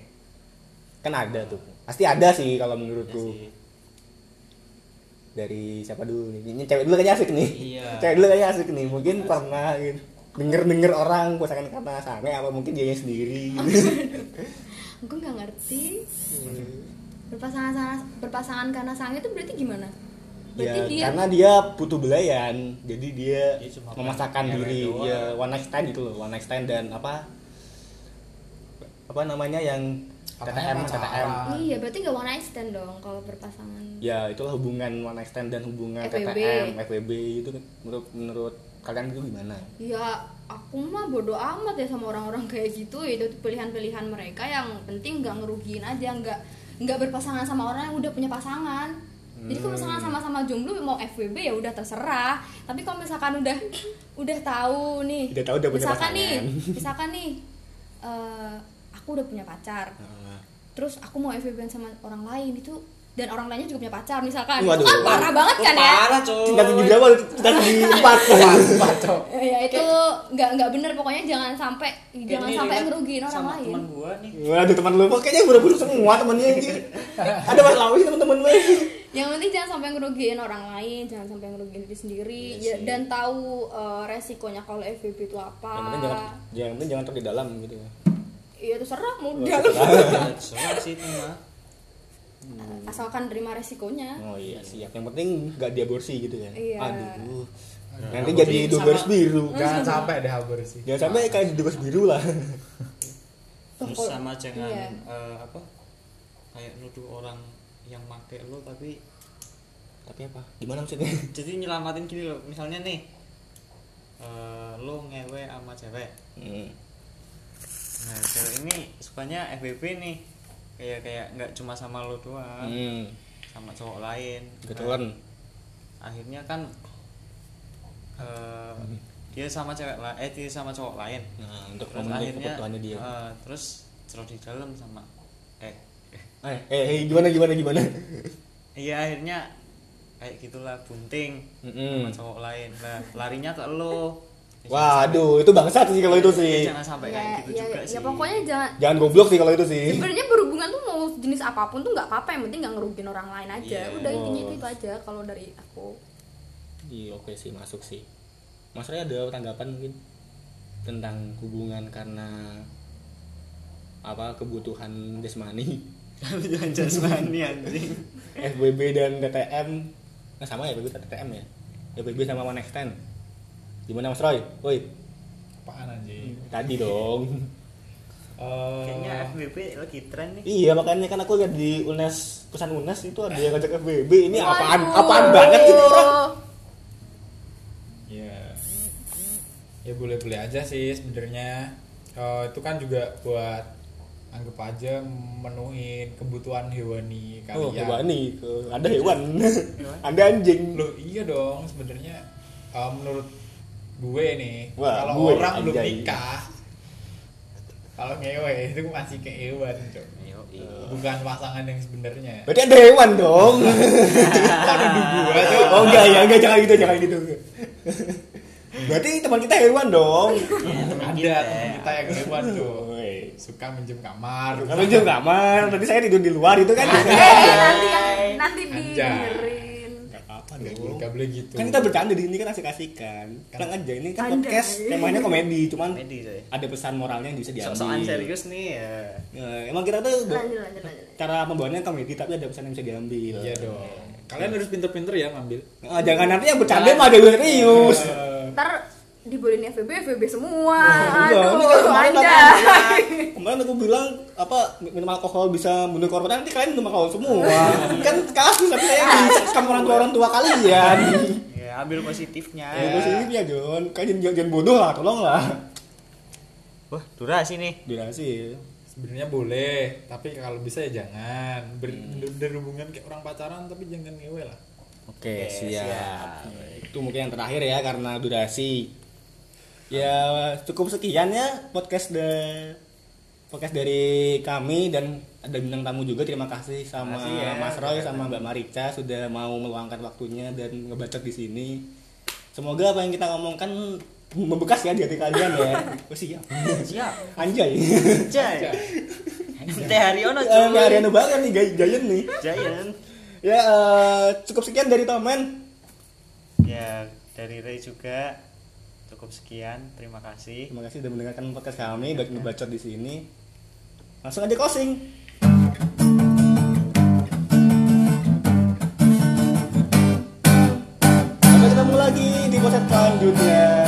A: Kan ada tuh. Pasti ada sih kalau menurutku.
B: Iya sih.
A: dari siapa dulu nih ini cewek dulu kayaknya asik nih
B: Iya.
A: cewek dulu kayaknya asik nih mungkin pernah gitu denger denger orang pasangan karena sange apa mungkin dia sendiri gitu
D: gua nggak ngerti
A: Hmm.
D: berpasangan berpasangan karena sange itu berarti gimana berarti
A: ya
D: dia
A: karena dia butuh belayan jadi dia
B: Dia cuma
A: memasakkan
B: pengen
A: diri
B: doang.
A: ya one night stand gitu loh one night stand dan apa apa namanya yang TTM
C: Katanya
A: TTM
C: pacaran.
D: iya berarti gak one night stand dong kalau berpasangan
A: ya itulah hubungan one night stand dan hubungan
D: FWB.
A: TTM FWB itu menurut menurut kalian itu gimana
D: Ya aku mah bodo amat ya sama orang-orang kayak gitu itu pilihan-pilihan mereka yang penting nggak ngerugiin aja nggak nggak berpasangan sama orang yang udah punya pasangan jadi kalau misalkan
A: Hmm.
D: sama-sama jomblo mau FWB ya udah terserah tapi kalau misalkan udah udah tahu nih
A: Udah tahu udah punya
D: misalkan nih
A: pasangan.
D: misalkan nih eh, aku udah punya pacar
A: Hmm.
D: terus aku mau FWB -an sama orang lain itu dan orang lainnya juga punya pacar misalkan
A: Waduh.
D: Itu kan parah banget kan ya
B: Parah, coy.
A: Tingkat tujuh berapa? Tingkat tujuh empat.
D: ya itu nggak nggak bener pokoknya jangan sampai jangan
B: Ini
D: sampai
B: relate
D: ngerugiin orang
B: sama
D: lain
B: Temen gua nih.
A: Waduh teman lu kok kayaknya buruk-buruk semua temennya anjir. Ada masalah apa sih teman-teman lu?
D: yang penting jangan sampai ngerugiin orang lain jangan sampai ngerugiin diri sendiri
B: Iya
D: Ya, dan tahu eh, resikonya kalau FVP itu apa
A: Yang penting jangan yang penting jangan terlalu dalam gitu ya.
D: iya itu serap
A: Oh,
D: mudah
B: Ya, Soal sih itu mah.
D: asalkan terima resikonya
A: Oh iya siap. Yang penting nggak diaborsi gitu kan.
D: Iya.
A: Aduh.
B: Nah,
A: Nanti jadi dua garis biru.
C: jangan sampai deh habis sih
A: Jangan
B: Nah.
A: sampai kayak dua garis biru lah.
B: Terus
D: Pokok-
B: sama jangan
D: iya.
B: eh, apa? Kayak nuduh orang yang make lo tapi
A: Tapi apa? Gimana maksudnya?
B: jadi nyelamatin gini loh. Misalnya nih eh, lo ngewe sama cewek.
A: Hmm.
B: Nah, cewek ini sukanya FBB nih. Kayak kayak nggak cuma sama lo doang,
A: Hmm.
B: sama cowok lain. Nah,
A: Kebetulan.
B: akhirnya kan eh, dia sama cewek la- eh dia sama cowok lain.
A: Nah, untuk
B: Terus
A: memenuhi
B: akhirnya
A: kebutuhannya dia.
B: eh, terus terus di dalam sama eh
A: Eh, eh, eh, gimana gimana gimana?
B: iya akhirnya kayak gitulah bunting sama
A: Mm-mm.
B: cowok lain. Nah, larinya ke lo. Ya,
A: Waduh, itu bangsat sih kalau itu
B: jangan- ya,
A: sih.
B: jangan sampai
D: ya,
B: kayak gitu
D: ya,
B: juga
D: ya
B: sih.
D: pokoknya jangan
A: Jangan goblok sih kalau itu sih.
D: sebenarnya berhubungan tuh mau jenis apapun tuh nggak apa-apa yang penting nggak ngerugiin orang lain aja
B: Iya.
D: udah
A: Oh.
D: intinya itu aja kalau dari aku
A: Iya oke sih masuk sih. Mas Ray ada tanggapan mungkin tentang hubungan karena apa kebutuhan jasmani
B: jangan jasmani anjing.
A: FBB dan TTM nah sama ya FBB dan TTM ya FBB sama One Night Stand gimana Mas Roy? Woi
C: apaan anjing
A: tadi dong
C: Eh,
B: Kayaknya FBB lagi tren nih.
A: iya makanya kan aku lihat di UNES pesan UNES itu ada yang ngajak FBB ini apaan
D: Waduh.
A: apaan banget ini orang
C: ya ya boleh-boleh aja sih sebenarnya Eh, itu kan juga buat anggap aja memenuhi kebutuhan hewani ya. kalian
A: oh hewan nih ke- ada hewan ada anjing
C: Loh, iya dong sebenarnya eh, menurut gue nih
A: Wah,
C: kalau
A: gue,
C: orang belum
A: anjay.
C: nikah kalau ngewe itu masih ke hewan Cok.
B: Ayo, iya.
C: bukan pasangan yang sebenarnya
A: berarti ada hewan dong
C: Bukan nuduh gue, Cok.
A: Oh enggak ya, enggak jangan gitu, jangan gitu. Berarti teman kita hewan dong.
B: Ya,
C: ada teman kita yang hewan tuh
A: Woi.
C: suka minjem kamar
A: Kamu juga kamar, tadi saya tidur di luar itu kan.
D: eh nanti nanti
C: Anjay.
D: didengerin
A: Enggak apa-apa Nggak
C: aduh
A: gitu.
C: nggak boleh gitu
A: kan kita bercanda di sini kan asik-asikan kan aja ini kan
F: Anjay.
A: podcast temanya komedi cuman
B: Medi saya.
A: ada pesan moralnya yang bisa diambil
B: Sok-sokan serius nih ya.
A: Ya, emang kita tuh ber-
F: lanjut lanjut lanjut
A: cara pembawaannya komedi tapi ada pesan yang bisa diambil
C: iya dong kalian harus pinter-pinter ya ngambil
A: Ah, jangan nanti yang bercanda mah ada yang serius
C: Iya. Eh,
F: ntar dibolehin FVB FVB semua
A: Iya, ini kan
F: aduh
A: kemarin
F: anjay
A: kata- kemarin aku bilang apa minum alkohol bisa bunuh korban nanti kalian minum alkohol semua kan kasus tapi saya kamu orang tua orang tua kalian
B: Ya, ambil positifnya.
A: ya positifnya Jon kalian jangan, jangan bodoh lah tolong lah
B: Wah, durasi nih.
A: durasi
C: sebenarnya boleh tapi kalau bisa ya jangan Ber- bener-bener hubungan kayak orang pacaran tapi jangan ngewe lah
A: Oke, siap. Itu mungkin yang terakhir ya karena durasi. Ya cukup sekian ya podcast de podcast dari kami dan ada bintang tamu juga terima kasih sama
B: Makasih ya.
A: Mas Roy sama Mbak Marica sudah mau meluangkan waktunya dan ngebacot di sini. Semoga apa yang kita omongkan membekas ya di hati kalian ya. Oh, siap.
B: Siap.
A: Anjay.
B: Jai. Teh Haryono
A: Eh,
B: cuy.
A: Mariano banget nih gay- Giant nih.
B: Giant.
A: Ya eh, cukup sekian dari Tomen.
B: Ya, dari Ray juga cukup sekian. Terima kasih.
A: Terima kasih sudah mendengarkan podcast kami baik ngebacot di sini. Langsung aja closing. Sampai ketemu lagi di podcast selanjutnya.